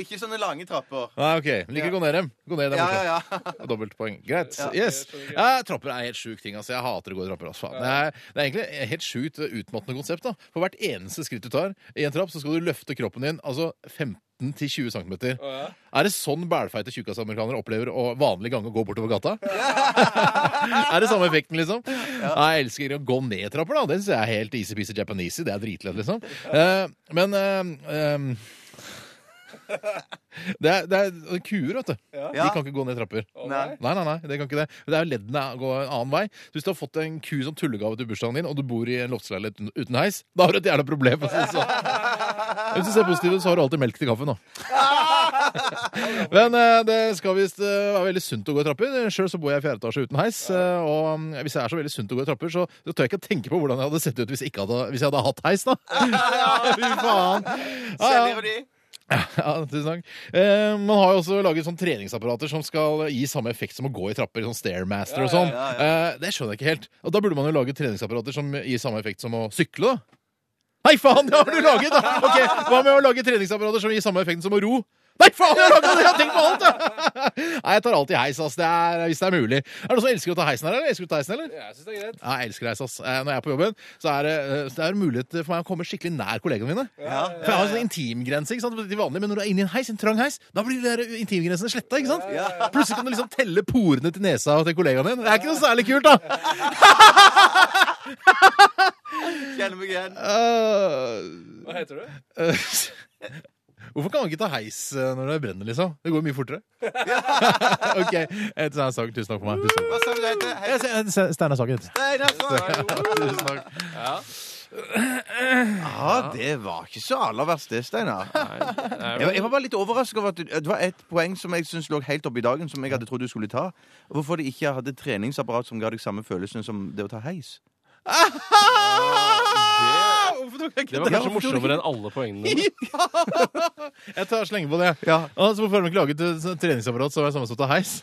Speaker 3: Ikke sånne lange trapper.
Speaker 2: Nei, ok. Liker å gå ned dem. Gå ned dem.
Speaker 3: Ja,
Speaker 2: også.
Speaker 3: ja, ja.
Speaker 2: Og Dobbelt poeng. Greit. Yes. Ja, trapper er helt sjuk ting. altså. Jeg hater å gå i trapper. altså. Det, er, det er egentlig et helt sjukt uh, utmattende konsept. da. For hvert eneste skritt du tar i en trapp, så skal du løfte kroppen din altså 15-20 cm. Er det sånn bælfeite tjukkasamerikanere opplever å vanlig gange å gå bortover gata? er det samme effekten, liksom? Nei, jeg elsker å gå ned trapper, da. Det syns jeg er helt easy-peasy japanesey. Det er dritlett, liksom. Eh, men eh, eh, det er, det er kuer, vet du. De kan ikke gå ned trapper.
Speaker 3: Nei.
Speaker 2: Nei, nei, nei, det kan ikke det. Det er jo leddene går en annen vei. Så hvis du har fått en ku som tullegave til bursdagen din, og du bor i en loftsleilighet uten- uten heis, da har du et jævla problem. for å si det sånn. Hvis du ser positivt, ut, så har du alltid melk til kaffen, da. Men eh, det skal visst eh, være veldig sunt å gå i trapper. Sjøl så bor jeg i fjerde etasje uten heis. eh, og mm, hvis jeg er så veldig sunt å gå i trapper, så, så tør jeg ikke tenke på hvordan jeg hadde sett ut hvis jeg, ikke hadde, hvis jeg hadde hatt heis, da. Fy faen. Ja, ja.
Speaker 3: Kjenner du de?
Speaker 2: Ja, tusen takk. Eh, man har jo også laget sånn treningsapparater som skal gi samme effekt som å gå i trapper. Sånn Stairmaster og sånn. Eh, det skjønner jeg ikke helt. Og da burde man jo lage treningsapparater som gir samme effekt som å sykle, da. Nei, faen! Det har du laget! da! Ok, Hva med å lage treningsapparater som gir samme effekt som å ro? Nei, faen! Jeg har laget det! Jeg har tenkt på alt! da! Nei, jeg tar alltid heis, ass. Det er, hvis det er mulig. Er det noen som elsker å ta heisen her, eller? Elsker du å ta heisen, eller?
Speaker 4: Jeg syns det er greit.
Speaker 2: Ja, jeg elsker deg, ass. Eh, Når jeg er på jobben, så er det, eh, så det er mulighet for meg å komme skikkelig nær kollegaene mine. For jeg har en sånn intimgrense ikke sant, til vanlig, men når du er inne i en heis, en trang heis, da blir de der intimgrensene sletta. ikke sant? Plutselig kan du liksom telle porene til nesa til kollegaen din. Det er ikke noe særlig kult, da.
Speaker 3: Kjenner meg igjen.
Speaker 2: Eh,
Speaker 4: Hva heter du?
Speaker 2: eh, Hvorfor kan man ikke ta heis eh, når det brenner, liksom? Det går jo mye fortere. OK. Et sånt sak. Tusen takk for meg. Tusen takk.
Speaker 3: Hva sa du det heter? altså. Hei,
Speaker 2: Jeg ser- jeg ser Steinar Sagen.
Speaker 3: Steinar Sagen.
Speaker 2: Tusen takk.
Speaker 3: Ja, det var ikke så aller verst, det, Steinar. Jeg, var- jeg var bare litt overrasket over at du- det var et poeng som jeg synes lå helt oppe i dagen, som jeg hadde trodd du skulle ta. Hvorfor de ikke hadde treningsapparat som ga deg samme følelsen som det å ta heis.
Speaker 2: Ah! Hvorfor tok jeg
Speaker 4: Det
Speaker 2: ikke
Speaker 4: var
Speaker 2: det?
Speaker 4: kanskje morsommere enn alle poengene. dine.
Speaker 2: Jeg tar slenger på det.
Speaker 3: Ja.
Speaker 2: Altså, hvorfor har de ikke laget et sånt treningsapparat som er samme som til heis?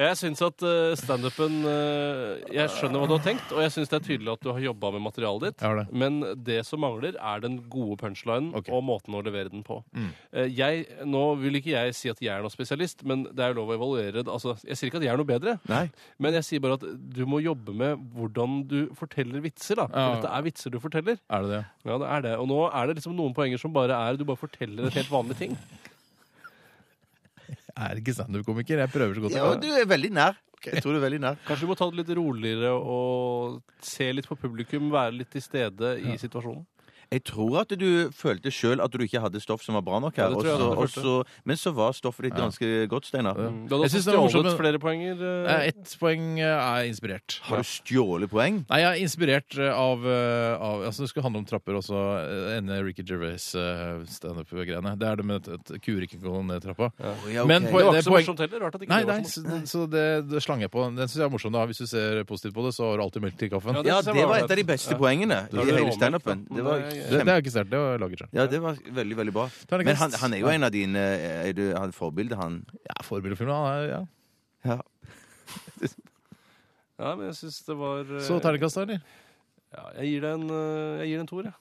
Speaker 4: Jeg syns at eh, standupen eh, Jeg skjønner hva du har tenkt, og jeg syns det er tydelig at du har jobba med materialet ditt.
Speaker 2: Jeg har det.
Speaker 4: Men det som mangler, er den gode punchlinen
Speaker 2: Ok. Mm.
Speaker 4: og måten å levere den på. Eh, Jeg, nå vil ikke jeg si at jeg er noen spesialist, men det er jo lov å evaluere. det. Altså, jeg sier ikke at jeg er noe bedre,
Speaker 3: Nei.
Speaker 4: men jeg sier bare at du må jobbe med hvordan du forteller vitser. da. For
Speaker 2: Ja.
Speaker 4: dette er vitser du forteller.
Speaker 2: Er det det?
Speaker 4: Ja, det er det. Og nå er det liksom noen poenger som bare er Du bare forteller et helt vanlig ting.
Speaker 2: Jeg er ikke standup-komiker. Jeg prøver så godt jeg
Speaker 3: Ja,
Speaker 2: kan.
Speaker 3: du er veldig nær. Jeg tror du er veldig nær.
Speaker 4: Kanskje du må ta det litt roligere og se litt på publikum, være litt til stede i situasjonen.
Speaker 3: Jeg tror at du følte sjøl at du ikke hadde stoff som var bra nok
Speaker 4: Ja,
Speaker 3: her.
Speaker 4: det tror jeg
Speaker 3: og
Speaker 4: også jeg
Speaker 3: så- og så- men så var stoffet ditt ganske godt, Steinar.
Speaker 4: Mm. Du hadde
Speaker 2: Jeg
Speaker 4: også
Speaker 2: synes det var
Speaker 4: stjålet
Speaker 2: morsomt, men-
Speaker 4: flere poenger. eh.
Speaker 2: Eh, Ett poeng eh, er inspirert.
Speaker 3: Har du stjålet poeng?
Speaker 2: Nei, jeg er inspirert eh, av, eh, av altså Det skulle handle om trapper også. eh, Enne Ricky Gervais-standup-greiene. Det er det med at at kuer ikke går ned trappa.
Speaker 3: ja, ok.
Speaker 2: Men
Speaker 4: Det
Speaker 2: poen-
Speaker 4: var
Speaker 2: det
Speaker 4: ikke så
Speaker 2: poeng-
Speaker 4: morsomt heller. Rart at ikke
Speaker 2: Nei,
Speaker 4: det var
Speaker 2: nei,
Speaker 4: så
Speaker 2: så,
Speaker 4: morsomt.
Speaker 2: så det, det slang jeg på. Den syns jeg er morsom. da Hvis du ser positivt på det, så har du alltid melk til kaffen. Det,
Speaker 4: Ja, det
Speaker 3: Ja,
Speaker 4: synes jeg
Speaker 3: det
Speaker 4: var
Speaker 3: var et av de
Speaker 4: ålreit.
Speaker 3: beste
Speaker 4: Ja.
Speaker 3: poengene
Speaker 4: Da er
Speaker 3: i
Speaker 4: det
Speaker 3: hele
Speaker 4: råmelk,
Speaker 3: standupen.
Speaker 4: da.
Speaker 3: Det var
Speaker 4: Det
Speaker 2: det
Speaker 4: er-
Speaker 3: kjempe...
Speaker 2: er ikke sterkt. Det var laget selv.
Speaker 3: Ja, det var veldig, veldig bra.
Speaker 2: Terningkast.
Speaker 3: Men han, han er jo en av dine eh, Er du han forbilde, han?
Speaker 2: Ja, forbildefilm. han er- Ja.
Speaker 3: Ja.
Speaker 4: Ja, men jeg syns det var eh,
Speaker 2: Så terningkast, da, eller?
Speaker 4: ja, Jeg gir det en, eh, jeg gir det en toer, jeg.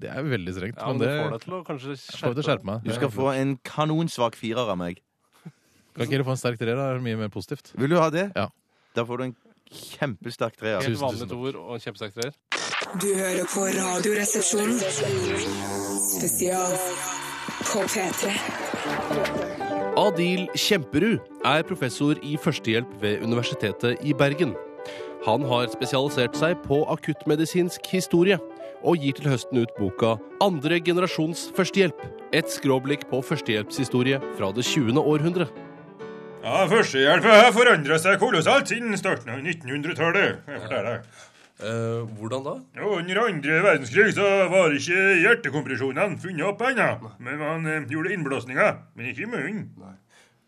Speaker 2: Det er veldig strengt.
Speaker 4: Ja,
Speaker 2: men
Speaker 4: men det får deg
Speaker 2: det
Speaker 4: til å kanskje
Speaker 2: skal jeg skjerpe meg.
Speaker 3: Du skal få en kanonsvak firer av meg.
Speaker 2: Kan ikke dere få en sterk treer? da? Det er mye mer positivt.
Speaker 3: Vil du ha det?
Speaker 2: Ja.
Speaker 3: Da får du en kjempesterk treer.
Speaker 4: Helt
Speaker 2: Tusen, tusen
Speaker 4: vanlig
Speaker 2: takk.
Speaker 4: toer og en kjempesterk treer.
Speaker 6: Du hører på Radioresepsjonen. Spesial på P3.
Speaker 4: Adil Kjemperud er professor i førstehjelp ved Universitetet i Bergen. Han har spesialisert seg på akuttmedisinsk historie, og gir til høsten ut boka 'Andre generasjons førstehjelp'. Et skråblikk på førstehjelpshistorie fra det 20. århundre.
Speaker 7: Ja, Førstehjelp har forandra seg kolossalt siden starten av 1900-tallet. kan jeg fortelle deg.
Speaker 4: Eh, hvordan da?
Speaker 7: Og Under andre verdenskrig så var ikke hjertekompresjonene funnet opp ennå. Men man eh, gjorde innblåsninger. Men ikke i munnen.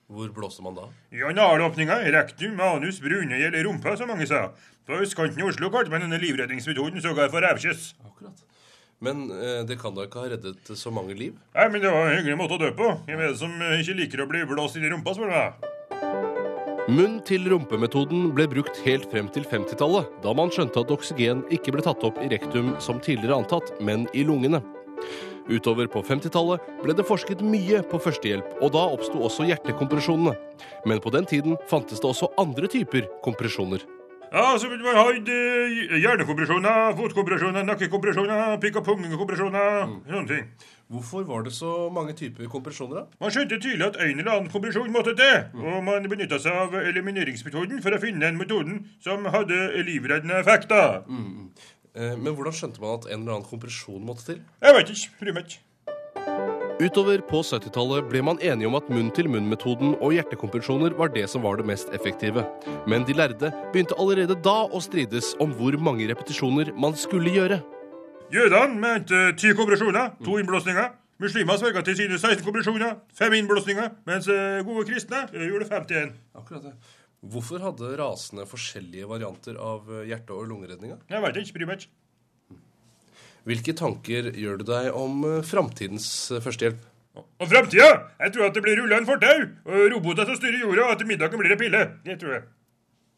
Speaker 4: Hvor blåser man da?
Speaker 7: I analåpninga, rektum, anus, brune eller rumpa, som mange sa. På østkanten i Oslo kalte man denne livredningsmetoden sågar for rævkjøss.
Speaker 4: Akkurat. Men eh, det kan da ikke ha reddet så mange liv?
Speaker 7: Nei, men det var en hyggelig måte å dø på. Hvem er det som eh, ikke liker å bli blåst inn i rumpa, spør du meg?
Speaker 4: Munn-til-rumpe-metoden ble brukt helt frem til 50-tallet, da man skjønte at oksygen ikke ble tatt opp i rektum som tidligere antatt, men i lungene. Utover på 50-tallet ble det forsket mye på førstehjelp, og da oppsto også hjertekompresjonene. Men på den tiden fantes det også andre typer kompresjoner.
Speaker 7: Ja, så ville man hatt eh, hjernekompresjoner, fotkompresjoner, nakkekompresjoner, pikk- og pungkompresjoner, sånne ting.
Speaker 4: Hvorfor var det så mange typer kompresjoner, da?
Speaker 7: Man skjønte tydelig at en eller annen kompresjon måtte til, og man benytta seg av elimineringsmetoden for å finne den metoden som hadde livreddende effekter.
Speaker 4: Eh, Men hvordan skjønte man at en eller annen kompresjon måtte til?
Speaker 7: Jeg vet ikke, bryr meg ikke.
Speaker 4: Utover på 70-tallet ble man enige om at munn-til-munn-metoden og hjertekompresjoner var det som var det mest effektive. Men de lærde begynte allerede da å strides om hvor mange repetisjoner man skulle gjøre.
Speaker 7: Jødene mente ti kompresjoner, to innblåsninger. Muslimer sverga til sine 16 kompresjoner, fem innblåsninger, mens eh, gode kristne eh, gjorde 51.
Speaker 4: Akkurat det. Hvorfor hadde rasene forskjellige varianter av eh, hjerte- og lungeredninga?
Speaker 7: Jeg vet ikke, bryr meg ikke.
Speaker 4: Hvilke tanker gjør du deg om eh, framtidens førstehjelp?
Speaker 7: Og framtida! Jeg tror at det blir rulla en fortau, og roboter som styrer jorda, og etter middagen blir det pille. Det tror jeg.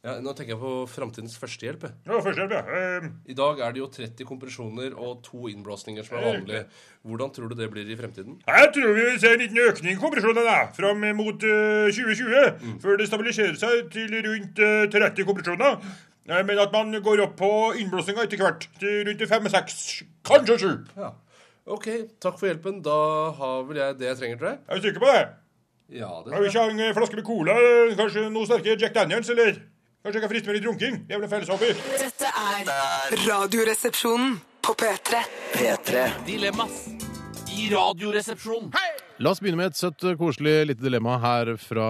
Speaker 4: Ja, nå tenker jeg på framtidens førstehjelp. jeg.
Speaker 7: Ja, førstehjelp, ja. Eh,
Speaker 4: I dag er det jo 30 kompresjoner og to innblåsninger som er vanlig. Hvordan tror du det blir i fremtiden?
Speaker 7: Jeg tror vi vil se en liten økning i kompresjonene da, fram mot eh, 2020.
Speaker 4: Mm.
Speaker 7: Før det stabiliserer seg til rundt eh, 30 kompresjoner. Eh, Men at man går opp på innblåsninga etter hvert. Til rundt 5-6, kanskje 7.
Speaker 4: Ja. OK, takk for hjelpen. Da har vel jeg det jeg trenger, tror jeg.
Speaker 7: Er du sikker på det?
Speaker 4: Ja, det
Speaker 7: Jeg vil ikke ha en eh, flaske med cola, eh, kanskje noe sterkere Jack Daniels, eller Kanskje jeg kan friste med litt runking? Jævla felleshoppy.
Speaker 6: Dette er Radioresepsjonen på P3.
Speaker 5: P3
Speaker 4: Dilemmas i Radioresepsjonen. Hei,
Speaker 2: La oss begynne med et søtt, koselig lite dilemma her fra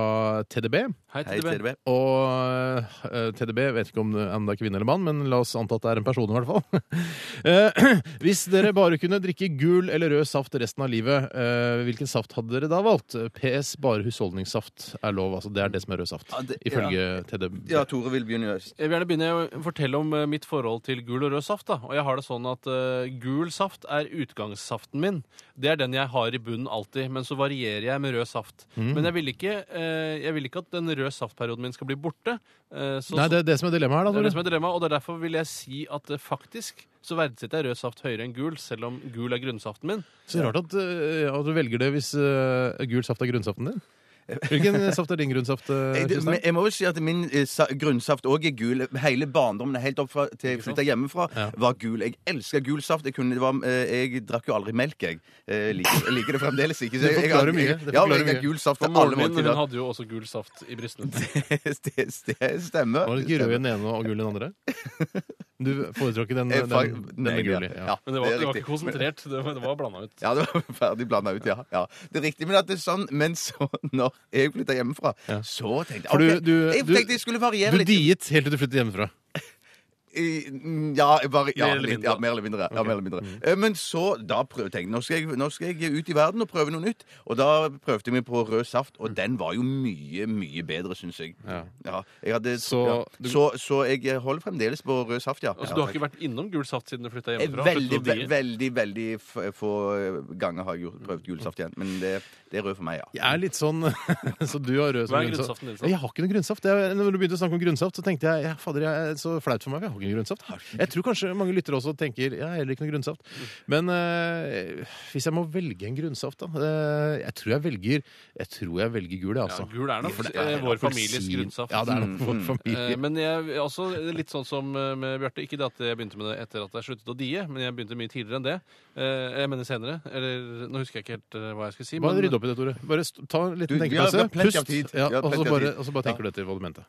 Speaker 2: TDB.
Speaker 3: Hei, TDB.
Speaker 2: Og eh, TDB, jeg vet ikke om, det- om det er kvinne eller mann, men la oss anta at det er en person i hvert fall. Eh, Hvis dere bare kunne drikke gul eller rød saft resten av livet, eh, hvilken saft hadde dere da valgt? PS, bare husholdningssaft er lov. altså Det er det som er rød saft,
Speaker 3: Ja, det-
Speaker 2: ifølge TDB.
Speaker 3: Ja, Tore vil begynne.
Speaker 8: Jeg vil gjerne begynne å fortelle om eh, mitt forhold til gul og rød saft. Da. Og jeg har det sånn at eh, Gul saft er utgangssaften min. Det er den jeg har i bunnen alltid. Men så varierer jeg med rød saft.
Speaker 3: Mm.
Speaker 8: Men jeg vil, ikke, eh, jeg vil ikke at den røde saftperioden min skal bli borte. Eh, så,
Speaker 2: Nei, det er det som er dilemmaet her, da.
Speaker 8: det er det som
Speaker 2: Tore.
Speaker 8: er dilemmaet, og det er derfor vil jeg si at eh, faktisk så verdsetter jeg rød saft høyere enn gul, selv om gul er grunnsaften min.
Speaker 2: Så rart at, eh, at du velger det hvis eh, gul saft er grunnsaften din. Hvilken saft er din grunnsaft? eh,
Speaker 3: Jeg,
Speaker 2: Kristian?
Speaker 3: men jeg må jo si at min eh, sa- grunnsaft òg er gul. Hele barndommen helt opp fra, til jeg flytta hjemmefra, var gul. Jeg elska gul saft. Jeg, kunne, det var, eh, jeg drakk jo aldri melk, jeg. Eh, liker, jeg liker det fremdeles ikke.
Speaker 2: Det
Speaker 3: Så jeg- jeg-
Speaker 2: forklarer mye.
Speaker 3: jeg-
Speaker 2: Det
Speaker 3: Ja,
Speaker 2: forklarer
Speaker 3: jeg
Speaker 2: mye.
Speaker 3: har gul saft til
Speaker 8: For
Speaker 3: alle
Speaker 8: moren min
Speaker 3: måltider.
Speaker 8: hun hadde jo også gul saft i brystene.
Speaker 3: Det, det, det stemmer.
Speaker 2: Var det ikke rød i den ene og gul i den andre? Du foretråkker den,
Speaker 3: Jeg
Speaker 2: den,
Speaker 3: Eh, fa-
Speaker 2: den,
Speaker 3: Nei,
Speaker 2: med
Speaker 3: jeg gjør
Speaker 2: gul i. Ja.
Speaker 3: Ja,
Speaker 4: Men det var,
Speaker 3: er
Speaker 4: det var
Speaker 3: riktig.
Speaker 4: ikke konsentrert. Det var, det var blanda ut.
Speaker 3: Ja, det var ferdig blanda ut, ja. ja. Det er riktig, men at det er sånn Men så, når jeg flytta hjemmefra, så tenkte jeg
Speaker 2: For du-
Speaker 3: ok,
Speaker 2: du-
Speaker 3: Jeg
Speaker 2: du-
Speaker 3: tenkte jeg skulle variere
Speaker 2: Du
Speaker 3: litt.
Speaker 2: diet helt til du flyttet hjemmefra.
Speaker 3: I- mm, Ja, jeg bare, ja,
Speaker 4: Mer eller
Speaker 3: litt, ja,
Speaker 4: mindre. Mm.
Speaker 3: mer eller mindre. Ja, mer eller mindre. Eh, Men så da prøv, tenkte jeg nå skal, jeg nå skal jeg ut i verden og prøve noe nytt. Og da prøvde jeg meg på rød saft,
Speaker 4: Mm.
Speaker 3: og den var jo mye, mye bedre, syns jeg.
Speaker 2: Ja.
Speaker 3: jeg hadde,
Speaker 2: Så
Speaker 3: ja.
Speaker 2: du-
Speaker 3: så, så jeg holder fremdeles på rød saft, ja.
Speaker 4: Altså,
Speaker 3: ja
Speaker 4: du har ikke vært innom gul saft siden du flytta
Speaker 3: Eh,
Speaker 4: hjemmefra?
Speaker 3: Veldig,
Speaker 4: Sluttet å
Speaker 3: ve
Speaker 4: die.
Speaker 3: veldig veldig f få ganger har jeg gjort- prøvd gulsaft igjen. Men det, det er rød for meg, ja.
Speaker 2: Jeg er litt sånn Så du har rød som
Speaker 4: Hva
Speaker 2: grunnsaft.
Speaker 4: er grunnsaften din, sant?
Speaker 2: Jeg har ikke noe grunnsaft. Jeg, når du begynte å snakke om grunnsaft, så tenkte jeg ja, fader, jeg er så flaut for meg. for Jeg har ikke noe grunnsaft. Jeg tror kanskje mange lyttere også tenker jeg har heller ikke noe grunnsaft. Men eh, hvis jeg må velge en grunnsaft, da eh, Jeg tror jeg velger Jeg tror jeg velger gul, jeg, altså.
Speaker 4: Ja, gul er nok
Speaker 2: For det
Speaker 4: eh, vår
Speaker 2: appelsin.
Speaker 4: families grunnsaft.
Speaker 2: Ja, det er nok
Speaker 3: Mm.
Speaker 2: vår familie.
Speaker 4: Eh, Men jeg, også litt sånn som eh, med Bjarte. Ikke det at jeg begynte med det etter at jeg sluttet å die, men jeg begynte mye tidligere enn det. Eh, Jeg mener senere. Eller nå husker jeg ikke helt eh, hva jeg skulle si.
Speaker 2: Bare
Speaker 4: men-
Speaker 2: rydd opp i det, Tore. Bare st ta en
Speaker 3: Du,
Speaker 2: liten
Speaker 3: vi har- vi
Speaker 2: tenkepause.
Speaker 3: har plenty av tid.
Speaker 2: Ja,
Speaker 3: Vi har
Speaker 2: og, så
Speaker 3: plenty av
Speaker 2: bare,
Speaker 3: tid.
Speaker 2: og så bare tenker du etter hva du mente.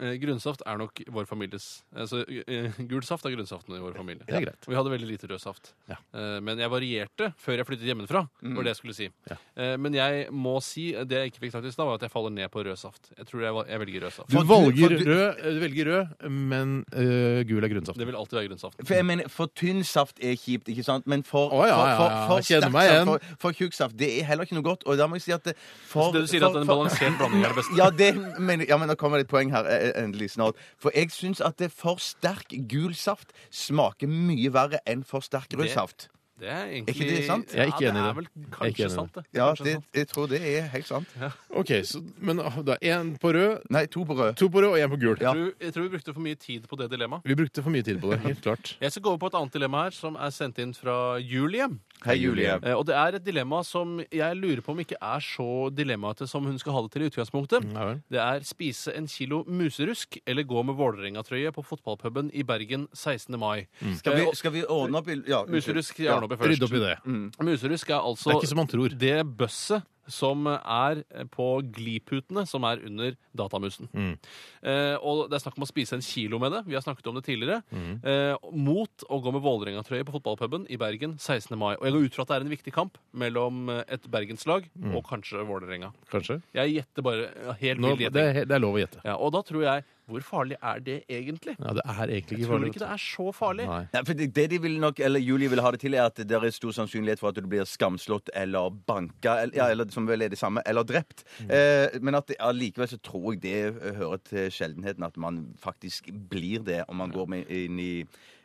Speaker 4: Eh, Grønnsaft er nok vår families altså, eh, Gul saft er grønnsaften i vår familie.
Speaker 2: Det er greit.
Speaker 4: Og vi hadde veldig lite rød saft.
Speaker 2: Ja. Mm.
Speaker 4: Eh, Men jeg varierte før jeg flyttet hjemmefra. var det jeg skulle si.
Speaker 2: Ja.
Speaker 4: Eh, Men jeg må si, det jeg ikke fikk sagt i stad, var at jeg faller ned på rød saft. Jeg tror jeg, val- jeg velger rød saft.
Speaker 2: Du
Speaker 3: For du-
Speaker 2: valger
Speaker 3: for du-
Speaker 2: rød, eh, du velger rød men eh, gul er grunnsaft.
Speaker 4: Det vil alltid være grønnsaft.
Speaker 3: For, jeg mener, for tynn saft er kjipt, ikke sant? Men for,
Speaker 2: Å, ja,
Speaker 3: for,
Speaker 2: ja,
Speaker 3: for,
Speaker 2: ja.
Speaker 3: for
Speaker 2: Kjenner
Speaker 3: sterk
Speaker 2: meg
Speaker 3: saft,
Speaker 2: igjen.
Speaker 3: for, for tjukk saft, det er heller ikke noe godt. Og da må jeg si at det, for,
Speaker 4: Så det du sier,
Speaker 3: for-
Speaker 4: at en
Speaker 3: for-
Speaker 4: balansert blanding er det beste?
Speaker 3: Ja, det mener jeg. Ja, men nå kommer det et poeng her eh, endelig snart. For jeg syns at det for sterk gul saft smaker mye verre enn for sterk rød
Speaker 4: Det-
Speaker 3: saft.
Speaker 4: Det er
Speaker 3: Er
Speaker 4: egentlig
Speaker 3: ikke det sant?
Speaker 2: Jeg er ikke enig i det.
Speaker 4: er vel
Speaker 2: Jeg er ikke
Speaker 4: kanskje
Speaker 2: enig i det.
Speaker 4: sant, det.
Speaker 3: Ja,
Speaker 4: Kanskje
Speaker 3: det,
Speaker 4: sant.
Speaker 3: jeg tror det er helt sant.
Speaker 2: Ok, så, Men ah, da én på rød,
Speaker 3: Nei, to på rød.
Speaker 2: to på rød og én på gul.
Speaker 3: Ja.
Speaker 4: Jeg, tror, jeg tror vi brukte for mye tid på det dilemmaet.
Speaker 2: Vi brukte for mye tid på det. helt klart.
Speaker 4: Jeg skal gå over på et annet dilemma her, som er sendt inn fra Julie.
Speaker 3: Hei, Julie.
Speaker 4: Eh, Og det er et dilemma som jeg lurer på om ikke er så dilemmaete som hun skal ha det til i utgangspunktet.
Speaker 3: Mm.
Speaker 2: Ja vel.
Speaker 4: Det er spise en kilo muserusk eller gå med Vålerenga-trøye på fotballpuben i Bergen 16. mai.
Speaker 3: Mm. Skal
Speaker 4: Eh,
Speaker 3: vi,
Speaker 4: og
Speaker 3: skal vi ordne opp i ja,
Speaker 4: Muserusk gjerne opp i først.
Speaker 2: Rydde opp i det.
Speaker 4: Muserusk er altså
Speaker 2: Det er ikke som man tror.
Speaker 4: det bøsset som er på gliputene som er under datamusen.
Speaker 2: Mm.
Speaker 4: Eh, og det er snakk om å spise en kilo med det. Vi har snakket om det tidligere.
Speaker 2: Mm.
Speaker 4: Eh, mot å gå med Vålerenga-trøye på fotballpuben i Bergen 16. mai. Og jeg går ut fra at det er en viktig kamp mellom eh, et bergenslag og kanskje Vålerenga.
Speaker 2: Kanskje?
Speaker 4: Jeg gjetter bare ja, helt
Speaker 2: Mm. Nå,
Speaker 4: vill
Speaker 2: det,
Speaker 4: gjetting.
Speaker 2: er, det er lov å gjette.
Speaker 4: Ja, og da tror jeg Hvor farlig er det egentlig?
Speaker 2: Ja, Det er egentlig
Speaker 4: Jeg
Speaker 2: ikke
Speaker 4: tror
Speaker 2: farlig.
Speaker 4: ikke det er så farlig.
Speaker 2: Nei.
Speaker 3: Nei, for det, det de vil nok, eller Julie vil ha det til, er at det er stor sannsynlighet for at du blir skamslått eller banka, eller, ja, eller som vel er det samme, eller drept. Eh, men at det, allikevel så tror jeg det eh, hører til sjeldenheten at man faktisk blir det om man går med inn i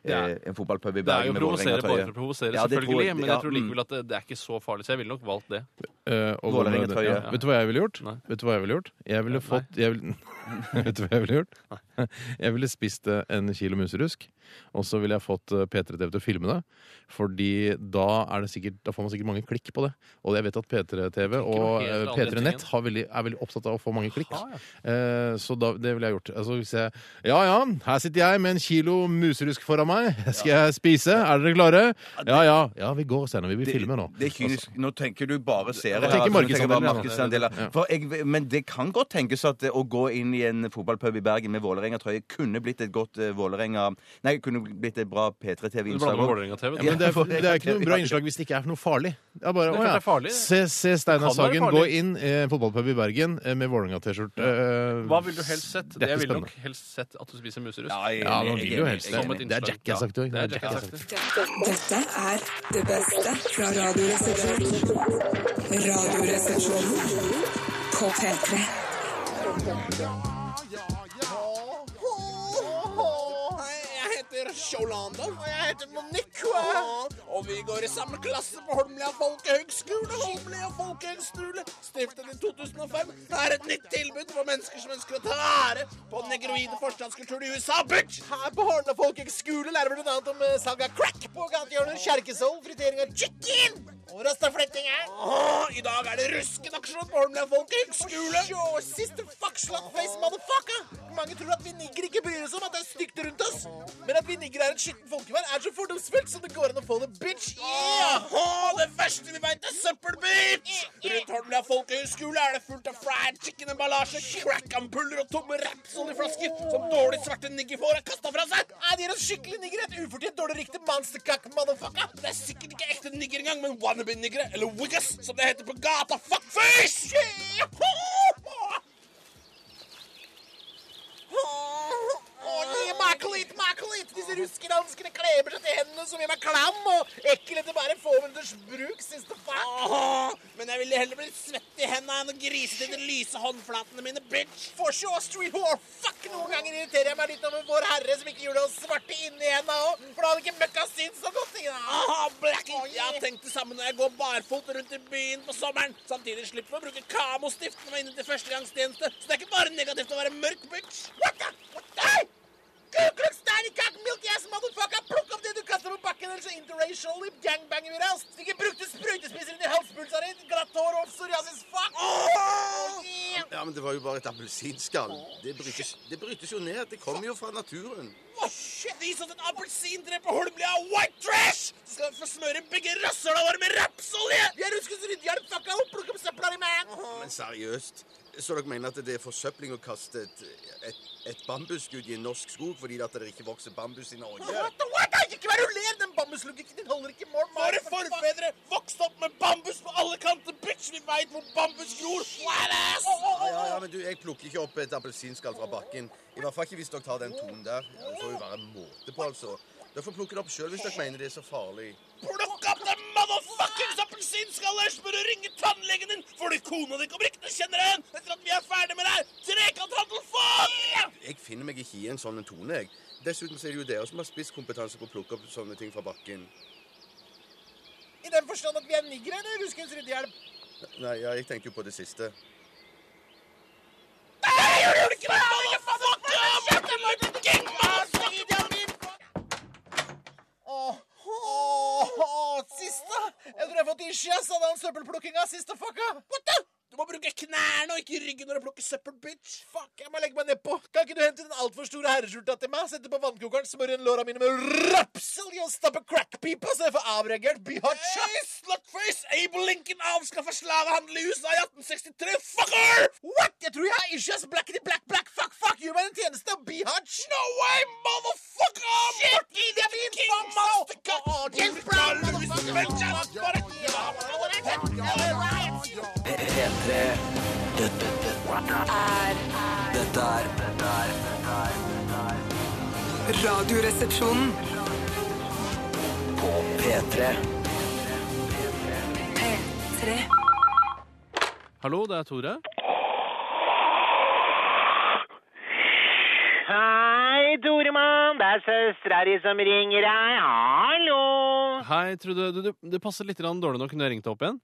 Speaker 3: eh, en fotballpub i
Speaker 4: Det
Speaker 3: Bergen
Speaker 4: er jo å
Speaker 3: med
Speaker 4: provosere bare for å
Speaker 3: Vålerenga-trøye.
Speaker 4: provosere,
Speaker 3: Ja, det tror
Speaker 4: selvfølgelig.
Speaker 3: jeg-
Speaker 4: men
Speaker 3: ja,
Speaker 4: jeg tror
Speaker 3: mm.
Speaker 4: likevel at det, det er ikke så farlig, så jeg ville nok valgt det.
Speaker 2: Eh, og
Speaker 3: Vålerenga
Speaker 2: hvordan-
Speaker 3: trøye.
Speaker 2: ja. Vet du hva jeg ville gjort?
Speaker 4: Nei. Eh,
Speaker 2: Vet du hva jeg ville gjort? Jeg ville fått jeg ville, Vet du hva jeg ville gjort? Jeg ville spist eh, en kilo muserusk, og så ville jeg fått eh, P3 TV til å filme det. Fordi da, er det sikkert, da får man sikkert mange klikk på det. Og jeg vet at P3 TV og
Speaker 4: noe
Speaker 2: eh,
Speaker 4: helt annet
Speaker 2: P3
Speaker 4: enn
Speaker 2: Nett
Speaker 4: tingen.
Speaker 2: har veldig, er veldig opptatt av å få mange klikk.
Speaker 4: Aha,
Speaker 2: Eh, Så da, det ville jeg gjort. Altså, hvis jeg, ja ja, her sitter jeg med en kilo muserusk foran meg. Skal jeg spise? Er dere klare? Ja ja. ja vi går senere. Vi vil filme nå.
Speaker 3: Det er kynisk. Nå tenker du bare
Speaker 2: Jeg
Speaker 3: seere. her,
Speaker 2: tenker
Speaker 3: altså, du bare
Speaker 2: markedsandeler,
Speaker 3: markedsandeler. For jeg, men det kan godt tenkes at eh, å gå inn i en fotballpub i Bergen med Vålerenga-trøye kunne blitt et godt eh, Vålerenga... Nei, kunne blitt et bra
Speaker 4: Du
Speaker 3: P3-TV-innslag.
Speaker 4: blander med Vålerenga-TV.
Speaker 2: Ja, men det, er,
Speaker 3: for-
Speaker 2: det er ikke noe bra innslag hvis det ikke er noe farlig. Det er bare, å
Speaker 4: Det er klart
Speaker 2: ja.
Speaker 4: det er farlig.
Speaker 2: Se, se
Speaker 4: Det
Speaker 2: Steinar
Speaker 4: kan være
Speaker 2: Sagen
Speaker 4: farlig.
Speaker 2: gå inn i en fotballpub i Bergen eh, med Vålerenga-T-skjorte. Eh,
Speaker 4: Hva vil du helst sett?
Speaker 2: Det er ikke
Speaker 4: Jeg ville nok
Speaker 2: spennende.
Speaker 4: helst sett at du spiser muserusk.
Speaker 3: Ja, jeg er
Speaker 2: Ja,
Speaker 3: enig,
Speaker 2: man vil
Speaker 3: jeg er
Speaker 2: jo
Speaker 3: enig,
Speaker 2: helst
Speaker 3: jeg er
Speaker 2: det.
Speaker 4: Som et
Speaker 3: enig.
Speaker 2: Det er
Speaker 4: innslag.
Speaker 2: Jackass sagt òg.
Speaker 4: Det er Jackass sagt.
Speaker 1: Dette er det beste fra Radioresepsjonen. Radioresepsjonen på P3.
Speaker 9: Jeg heter Sjolanda. Og jeg heter Monique. Og vi går i samme klasse på Holmlia folkehøgskole. Holmlia folkehøgskole, stiftet i 2005. Det er et nytt tilbud for mennesker som ønsker å ta ære på den negroide forstandskulturen i USA, bitch! Her på Holmlia eh, folkehøgskole lærer vi bl.a. om salg av crack på gatehjørnet, kjerkesold, fritering av chicken Og rastafletting er Åh, I dag er det ruskenaksjon på Holmlia folkehøgskole. Siste fuckslutface, motherfucker. Mange tror at vinigger ikke bryr oss om at det er stygt rundt oss. Men at vinigger er et skittent folkevær, er så fordomsfullt som det går an å få det, bitch. Yeah! det verste vi veit, er søppelbit! Rundt Holmlia folkehøgskole er det fullt av fried chicken-emballasje, crack-ampuller og tomme Rapsol-flasker som dårlig svarte nigger får har kasta fra seg. Nei, det gir oss skikkelig nigger et ufortjent dårlig riktig monsterkakk, motherfucker. Det er sikkert ikke ekte nigger engang, men wannabe-niggere, eller wiggas, som det heter på gata. Fuckface! Åh, gi meg klitt, meg klitt! Disse ruskedanskene kleber seg til hendene som gjør meg klam, og ekkel etter bare få minutters bruk, synes det fuck. men jeg ville heller bli svett i hendene enn å grise til de lyse håndflatene mine, bitch. For så street whore, fuck! Noen ganger irriterer jeg meg litt over vår herre som ikke gjorde oss svarte inni hendene òg, for da hadde ikke møkka syns så godt. Aha, blackie! Jeg har tenkt det samme når jeg går barfot rundt i byen på sommeren. Samtidig slipper vi å bruke kamostift når vi er inne til førstegangstjeneste, så det er ikke bare negativt å være mørk, bitch. What the? What the? Kuklukstein i kakk, milk ass motherfucker! Plukk opp det du kaster på bakken, ellers så interracial lip gangbanger vi raust! Ikke brukte sprøytespisser inn i halspulsa di, glatt hår og psoriasis, fuck!
Speaker 3: Ja, men det var jo bare et appelsinskall. Det brytes, det brytes jo ned. Det kommer jo fra naturen.
Speaker 9: Åh, shit! Vis oss en appelsintre på Holmlia white trash! Så skal vi få smøre begge rasshøla våre med rapsolje! Vi er ruskens ryddehjelp, fucka opp! Plukk opp søpla di, man!
Speaker 3: Men seriøst, så dere mener at det er forsøpling å kaste et, et, et bambusskudd i en norsk skog fordi at det ikke vokser bambus i Norge?
Speaker 9: What the what? Ikke vær uler! Den bambuslogikken din holder ikke mål. Våre forfedre vokste opp med bambus på alle kanter, bitch! Vi veit hvor bambus gror! Flat-ass!
Speaker 3: Ja, ja, ja, men du, jeg plukker ikke opp et appelsinskall fra bakken. I hvert fall ikke hvis dere tar den tonen der. Ja, Det får jo være måte på, altså. Dere får plukke det opp sjøl hvis dere mener det er så farlig.
Speaker 9: Plukk opp det motherfuckings appelsinskallet, ellers bør du ringe tannlegen din, fordi kona di kommer ikke til å kjenne deg igjen etter at vi er ferdig med deg! Trekanthandel, fuck!
Speaker 3: Jeg finner meg ikke i en sånn tone, jeg. Dessuten så er det jo dere som har spisskompetanse på å plukke opp sånne ting fra bakken.
Speaker 9: I den forstand at vi er niggere, eller ruskens ryddehjelp?
Speaker 3: Nei, ja, jeg tenkte jo på det siste.
Speaker 9: Nei, jeg gjør ikke det! motherfucker! Åh, åh, åh, siste! Jeg tror jeg har fått ischias av den søppelplukkinga, siste fucka. What the? Du må bruke knærne og ikke ryggen når du plukker søppel, bitch. Fuck, jeg må legge meg nedpå. Kan ikke du hente den altfor store herreskjorta til meg, sette på vannkokeren, smøre inn låra mine med rapsolje og stappe crackpipa så jeg får avreagert bihacha? Hey, slutface! Abe Lincoln avskaffa slavehandel i USA i 1863, fucker! What? Jeg tror jeg har issues. Blackity black black fuck fuck. Gjør meg en tjeneste og bihacha. No way, motherfucker! Shit, gi deg min faen, James Brown, motherfucker!
Speaker 10: P3. Dette, dette,
Speaker 1: er
Speaker 10: dette er Dette er dette er
Speaker 1: Radioresepsjonen.
Speaker 10: På P3.
Speaker 1: P3.
Speaker 4: Hallo, det er Tore.
Speaker 11: Hei, Doremann. Det er søstera di som ringer deg. Hallo.
Speaker 4: Hei, Trude. Du, du, det passer litt grann dårlig nå. Kunne jeg ringt deg opp igjen?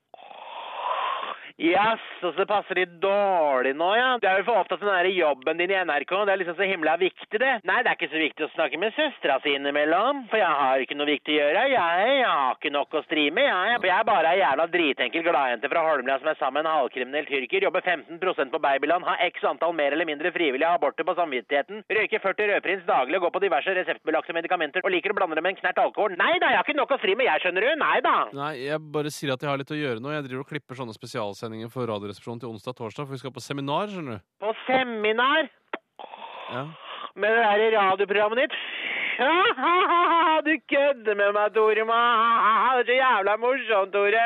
Speaker 11: Jaså, så det passer litt dårlig nå, ja. Du er vel for opptatt med den der jobben din i NRK. Det er liksom så himla viktig, det. Nei, det er ikke så viktig å snakke med søstera si innimellom. For jeg har ikke noe viktig å gjøre. Jeg, jeg har ikke nok å stri med, jeg. For jeg er bare ei jævla dritenkel gladjente fra Holmlia som er sammen med en halvkriminell tyrker, jobber 15 på babyland, har x antall mer eller mindre frivillige aborter på samvittigheten, røyker 40 rødprins daglig og går på diverse reseptbelagte medikamenter og liker å blande det med en knert alkohol. Nei da, jeg har ikke nok å stri med, jeg, skjønner du. Nei da.
Speaker 4: Nei, jeg bare sier at jeg har litt å gjøre nå. Jeg driver og klipper sånne spesialsendinger for Radioresepsjonen til onsdag og torsdag, for vi skal på seminar, skjønner du.
Speaker 11: På seminar
Speaker 4: Ja.
Speaker 11: med det der radioprogrammet ditt. Du kødder med meg, Tore. Det er så jævla morsomt, Tore.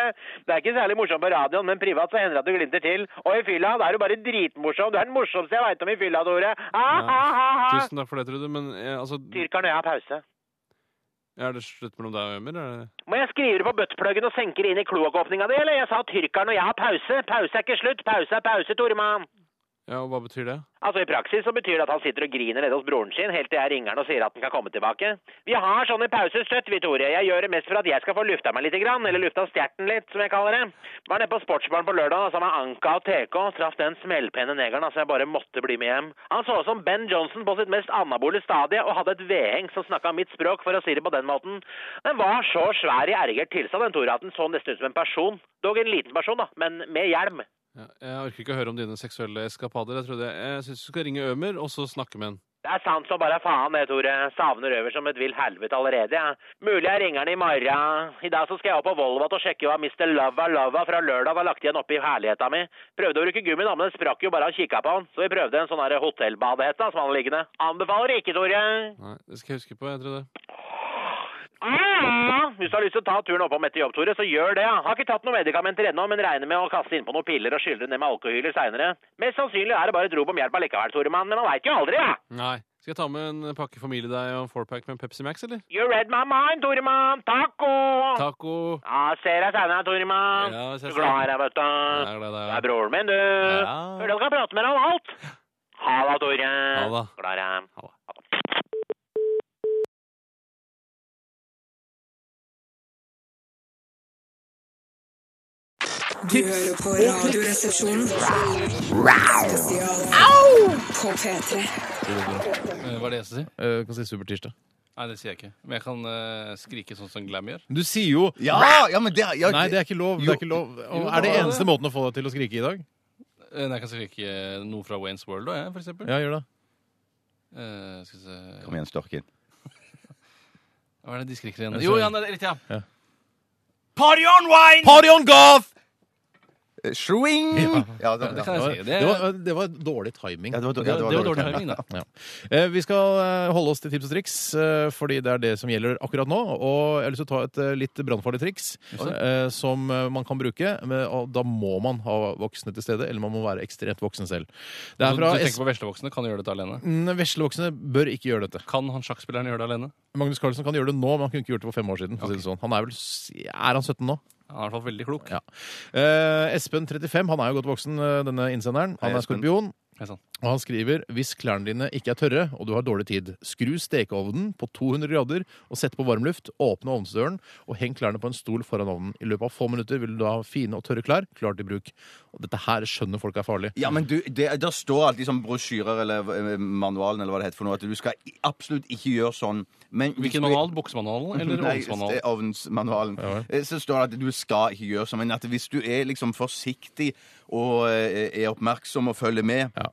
Speaker 11: Det er ikke særlig morsomt på radioen, men privat så hender det at du glimter til. Og i fylla, da er du bare dritmorsom. Du er den morsomste jeg veit om i fylla, Tore.
Speaker 12: Ah,
Speaker 4: Tusen takk for det, Trude, men eh, altså
Speaker 11: Tyrkeren og jeg har pause.
Speaker 4: Er det slutt mellom deg og Emil? Er det...
Speaker 11: Må jeg skrive det på buttpluggen og senke det inn i kloakkåpninga di, eller? Jeg sa tyrkeren og jeg har pause. Pause er ikke slutt. Pause er pause, Toremann.
Speaker 4: Ja, og Hva betyr det?
Speaker 12: Altså I praksis så betyr det at han sitter og griner nede hos broren sin helt til jeg ringer han og sier at han kan komme tilbake. Vi har sånne pauser støtt, vi, Tore. Jeg gjør det mest for at jeg skal få lufta meg litt, grann, eller lufta stjerten litt, som jeg kaller det. Var nede på sportsbaren på lørdag sammen med Anka og TK. Traff den smellpene negeren, altså jeg bare måtte bli med hjem. Han så ut som Ben Johnson på sitt mest anabole stadie og hadde et vedheng som snakka mitt språk, for å si det på den måten. Den var så svær i erigert tilstand, den Tore, at den så nesten ut som en person. Dog en liten person, da, men med hjelm.
Speaker 4: Ja, jeg orker ikke å høre om dine seksuelle eskapader. Jeg trodde jeg syns du skal ringe Ømer, og så snakke med han.
Speaker 12: Det er sant som bare faen, det, Tore. Savner Øver som et vill helvete allerede. Ja. Mulig jeg ringer han i morgen. I dag så skal jeg opp på Volvat og sjekke hva Mr. Lava Lava fra lørdag har lagt igjen oppi herligheta mi. Prøvde å bruke gummi, da, men den sprakk jo bare av kikka på han. Så vi prøvde en sånn her hotellbadehette da, som han har liggende. Anbefaler ikke, Tore.
Speaker 4: Nei, det skal jeg huske på, jeg trodde.
Speaker 12: Ah, Hvis du har lyst til å ta turen oppom etter jobb, Tore, så gjør det. ja. Har ikke tatt noen medikamenter ennå, men regner med å kaste innpå noen piller og skylle ned med alkohyler seinere. Mest sannsynlig er det bare et rop om hjelp allikevel, Tore, mann, men man veit jo aldri, ja.
Speaker 4: Nei. Skal jeg ta med en pakke familiedeig og en fourpack med en Pepsi Max, eller?
Speaker 12: You read my mind, Toremann. Taco!
Speaker 4: Taco.
Speaker 12: Ja, ser deg senere, Toremann.
Speaker 4: Ja, ses
Speaker 12: du glad i deg, vet du.
Speaker 4: er glad i deg, ja.
Speaker 12: Det er broren min, du. Ja. Føler du kan prate med deg om alt. Ha det, Tore.
Speaker 4: Ha det.
Speaker 12: Glad i deg.
Speaker 1: Du hører på Radioresepsjonen. Spesial på P3.
Speaker 4: Eh, Hva er det jeg skal si?
Speaker 2: Eh, kan si Supertirsdag.
Speaker 4: Nei, det sier jeg ikke. Men jeg kan eh, skrike sånn som Glam gjør.
Speaker 2: Du sier jo
Speaker 3: Ja, ja, men det ja,
Speaker 2: Nei, det er ikke lov. Det er, ikke lov. Og er det
Speaker 4: det er
Speaker 2: eneste måten å få deg til å skrike i dag?
Speaker 4: Eh, Nei, jeg kan skrike eh, noe fra Waynes World òg, jeg, for eksempel.
Speaker 2: Ja, gjør det.
Speaker 4: Eh, skal vi se
Speaker 3: Kom igjen, Storken.
Speaker 4: Hva er det de skriker
Speaker 2: Ja,
Speaker 4: igjen?
Speaker 2: så-
Speaker 4: Jo, ja, det er riktig, ja.
Speaker 2: Ja.
Speaker 4: Party on wine!
Speaker 2: Party on goth!
Speaker 3: Eh, Swing!
Speaker 2: Ja.
Speaker 3: Ja, da,
Speaker 4: Det
Speaker 3: da.
Speaker 4: kan jeg si. Det,
Speaker 2: Det var, det var dårlig timing.
Speaker 3: Ja, det var dårlig-
Speaker 4: det,
Speaker 3: ja, det var
Speaker 4: var dårlig timing, da.
Speaker 2: Ja. Eh, Vi skal eh, holde oss til tips og triks, eh, fordi det er det som gjelder akkurat nå. Og jeg har lyst til å ta et eh, litt brannfarlig triks eh, som eh, man kan bruke. men- Og da må man ha voksne til stede, eller man må være ekstremt voksen selv. Det er
Speaker 4: Du,
Speaker 2: fra
Speaker 4: du
Speaker 2: S...
Speaker 4: tenker på veslevoksne kan gjøre dette alene.
Speaker 2: Mm, Veslevoksne bør ikke gjøre dette.
Speaker 4: Kan han sjakkspilleren gjøre det alene?
Speaker 2: Magnus Carlsen kan gjøre det nå, men han kunne ikke gjort det for fem år siden. For å si det sånn. Han er, vel, s- er han 17 nå?
Speaker 4: Han er i hvert fall veldig klok.
Speaker 2: Ja. Eh, Espen 35, han er jo godt voksen, eh, denne innsenderen. Han
Speaker 3: Hei,
Speaker 2: er
Speaker 3: Espen.
Speaker 2: skorpion.
Speaker 4: Hei sann.
Speaker 2: Og han skriver hvis klærne dine ikke er tørre og du har dårlig tid, skru stekeovnen på 200 grader og sett på varmluft, åpne ovnsdøren og heng klærne på en stol foran ovnen. I løpet av få minutter vil du da ha fine og tørre klær klar til bruk. Og dette her skjønner folk er farlig.
Speaker 3: Ja, men du, det, Der står alltid sånn brosjyrer eller eh, manualen eller hva det heter for noe, at du skal i- absolutt ikke gjøre sånn. Men hvis
Speaker 4: Hvilken
Speaker 3: du-
Speaker 4: manual? Buksemanalen eller
Speaker 3: Nei,
Speaker 4: ovnsmanualen?
Speaker 3: det er ovnsmanualen. Eh, Så står det at du skal ikke gjøre sånn, men at hvis du er liksom forsiktig og eh, er oppmerksom og følger med
Speaker 2: Ja.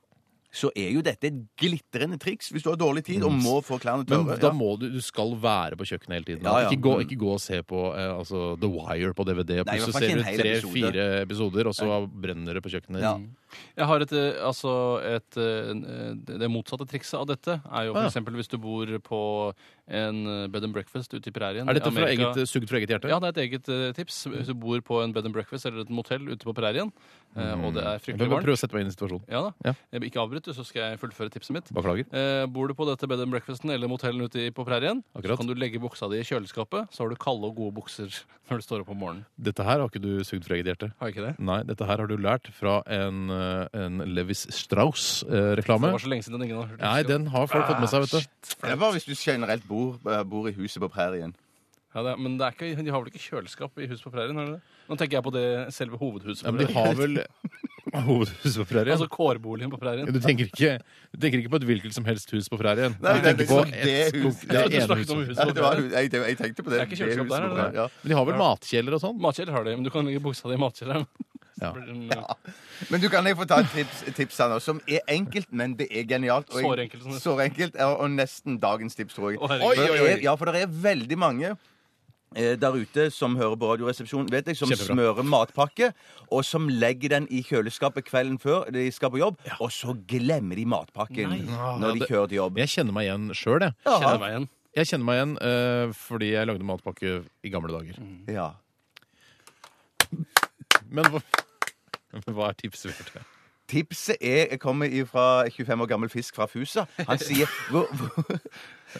Speaker 3: Så er jo dette et glitrende triks hvis du har dårlig tid
Speaker 4: Mm.
Speaker 3: og må få klærne
Speaker 2: Men
Speaker 3: tørre.
Speaker 2: da
Speaker 3: ja.
Speaker 2: må du Du skal være på kjøkkenet hele tiden.
Speaker 3: Ja, ja.
Speaker 2: Ikke, gå, ikke gå og se på eh, altså, The Wire på DVD, og
Speaker 3: Nei, i hvert
Speaker 2: plutselig
Speaker 3: fall ikke
Speaker 2: ser
Speaker 3: en
Speaker 2: du
Speaker 3: hel episode.
Speaker 2: tre-fire episoder, og så brenner det på kjøkkenet.
Speaker 3: Ja.
Speaker 4: Jeg har et, eh, altså et eh, n- eh, Det motsatte trikset av dette er jo
Speaker 2: Ah, ja.
Speaker 4: f.eks. hvis du bor på en eh, bed and breakfast ute i prærien.
Speaker 2: Er
Speaker 4: i
Speaker 2: dette fra
Speaker 4: Amerika.
Speaker 2: eget, eh, sugd fra eget hjerte?
Speaker 4: Ja, det er et eget eh, tips. Hvis du bor på en bed and breakfast eller et motell ute på prærien, eh,
Speaker 2: Mm.
Speaker 4: og det er
Speaker 2: Jeg
Speaker 4: fryktelig
Speaker 2: må
Speaker 4: varmt
Speaker 2: prøve å sette meg inn i situasjonen.
Speaker 4: ja da.
Speaker 2: Ja.
Speaker 4: Jeg blir Ikke avbryt, du, så skal jeg fullføre tipset mitt.
Speaker 2: Beklager.
Speaker 4: Eh, bor du på dette bed and breakfasten eller motellen ute i- på prærien,
Speaker 2: Akkurat.
Speaker 4: så kan du legge buksa di i kjøleskapet, så har du kalde og gode bukser når du står opp om morgenen.
Speaker 2: Dette her har ikke du sugd fra eget hjerte?
Speaker 4: Har jeg ikke det?
Speaker 2: Nei, dette her har du lært fra en, eh, en Levis
Speaker 4: Det
Speaker 2: Strauss-reklame.
Speaker 4: var så lenge siden den ingen har hørt.
Speaker 2: Nei, den har folk fått med seg, vet du.
Speaker 3: Det er bare hvis du generelt bor, eh, bor i huset på prærien.
Speaker 4: Ja, det er, men det er ikke, de har vel ikke kjøleskap i huset på prærien? har de det? Nå tenker jeg på det selve hovedhuset.
Speaker 2: Ja,
Speaker 4: på
Speaker 2: men de
Speaker 4: prærien.
Speaker 2: har vel hovedhuset på prærien?
Speaker 4: Altså kårboligen på prærien.
Speaker 2: du tenker, ikke, du tenker ikke på et hvilket som helst hus på prærien.
Speaker 3: Nei,
Speaker 2: du
Speaker 3: det er
Speaker 2: tenker
Speaker 3: liksom
Speaker 2: på
Speaker 3: det
Speaker 2: et-
Speaker 3: huset.
Speaker 2: det
Speaker 3: Ja,
Speaker 2: er
Speaker 4: Du
Speaker 2: ene
Speaker 4: snakket om
Speaker 2: huset.
Speaker 4: huset
Speaker 3: Nei,
Speaker 4: på
Speaker 3: det var,
Speaker 4: prærien.
Speaker 3: jeg, jeg tenkte på det.
Speaker 4: Det er ikke kjøleskap
Speaker 3: huset
Speaker 4: der,
Speaker 3: på
Speaker 4: er det
Speaker 3: prærien, ja.
Speaker 2: Men de har vel matkjeler og sånn?
Speaker 4: Matkjeller har de, men du kan legge buksa di i matkjelleren.
Speaker 2: Ja.
Speaker 4: Så blir den, eh,
Speaker 3: Men du kan jeg få ta et tips, tips her nå, som er enkelt, men det er genialt. og jeg-
Speaker 4: Sårenkelt, som det-
Speaker 3: Sårenkelt, ja, og nesten dagens tips, tror jeg.
Speaker 4: Å, herregud.
Speaker 3: For det
Speaker 4: Oi, oi, oi.
Speaker 3: er- Ja, for det er veldig mange eh, der ute som hører på Radioresepsjonen, vet jeg, som
Speaker 2: Kjempebra.
Speaker 3: smører matpakke, og som legger den i kjøleskapet kvelden før de skal på jobb, og så glemmer de matpakken når de
Speaker 2: det-
Speaker 3: kjører til jobb.
Speaker 2: Jeg kjenner meg igjen sjøl, jeg.
Speaker 4: Kjenner meg igjen.
Speaker 2: Jeg kjenner meg igjen eh, fordi jeg lagde matpakke i gamle dager.
Speaker 4: Mm.
Speaker 3: Ja.
Speaker 2: Men hva, men hva er tipset for det?
Speaker 3: Tipset er, kommer fra 25 år gammel fisk fra Fusa. Han sier hvor, hvor,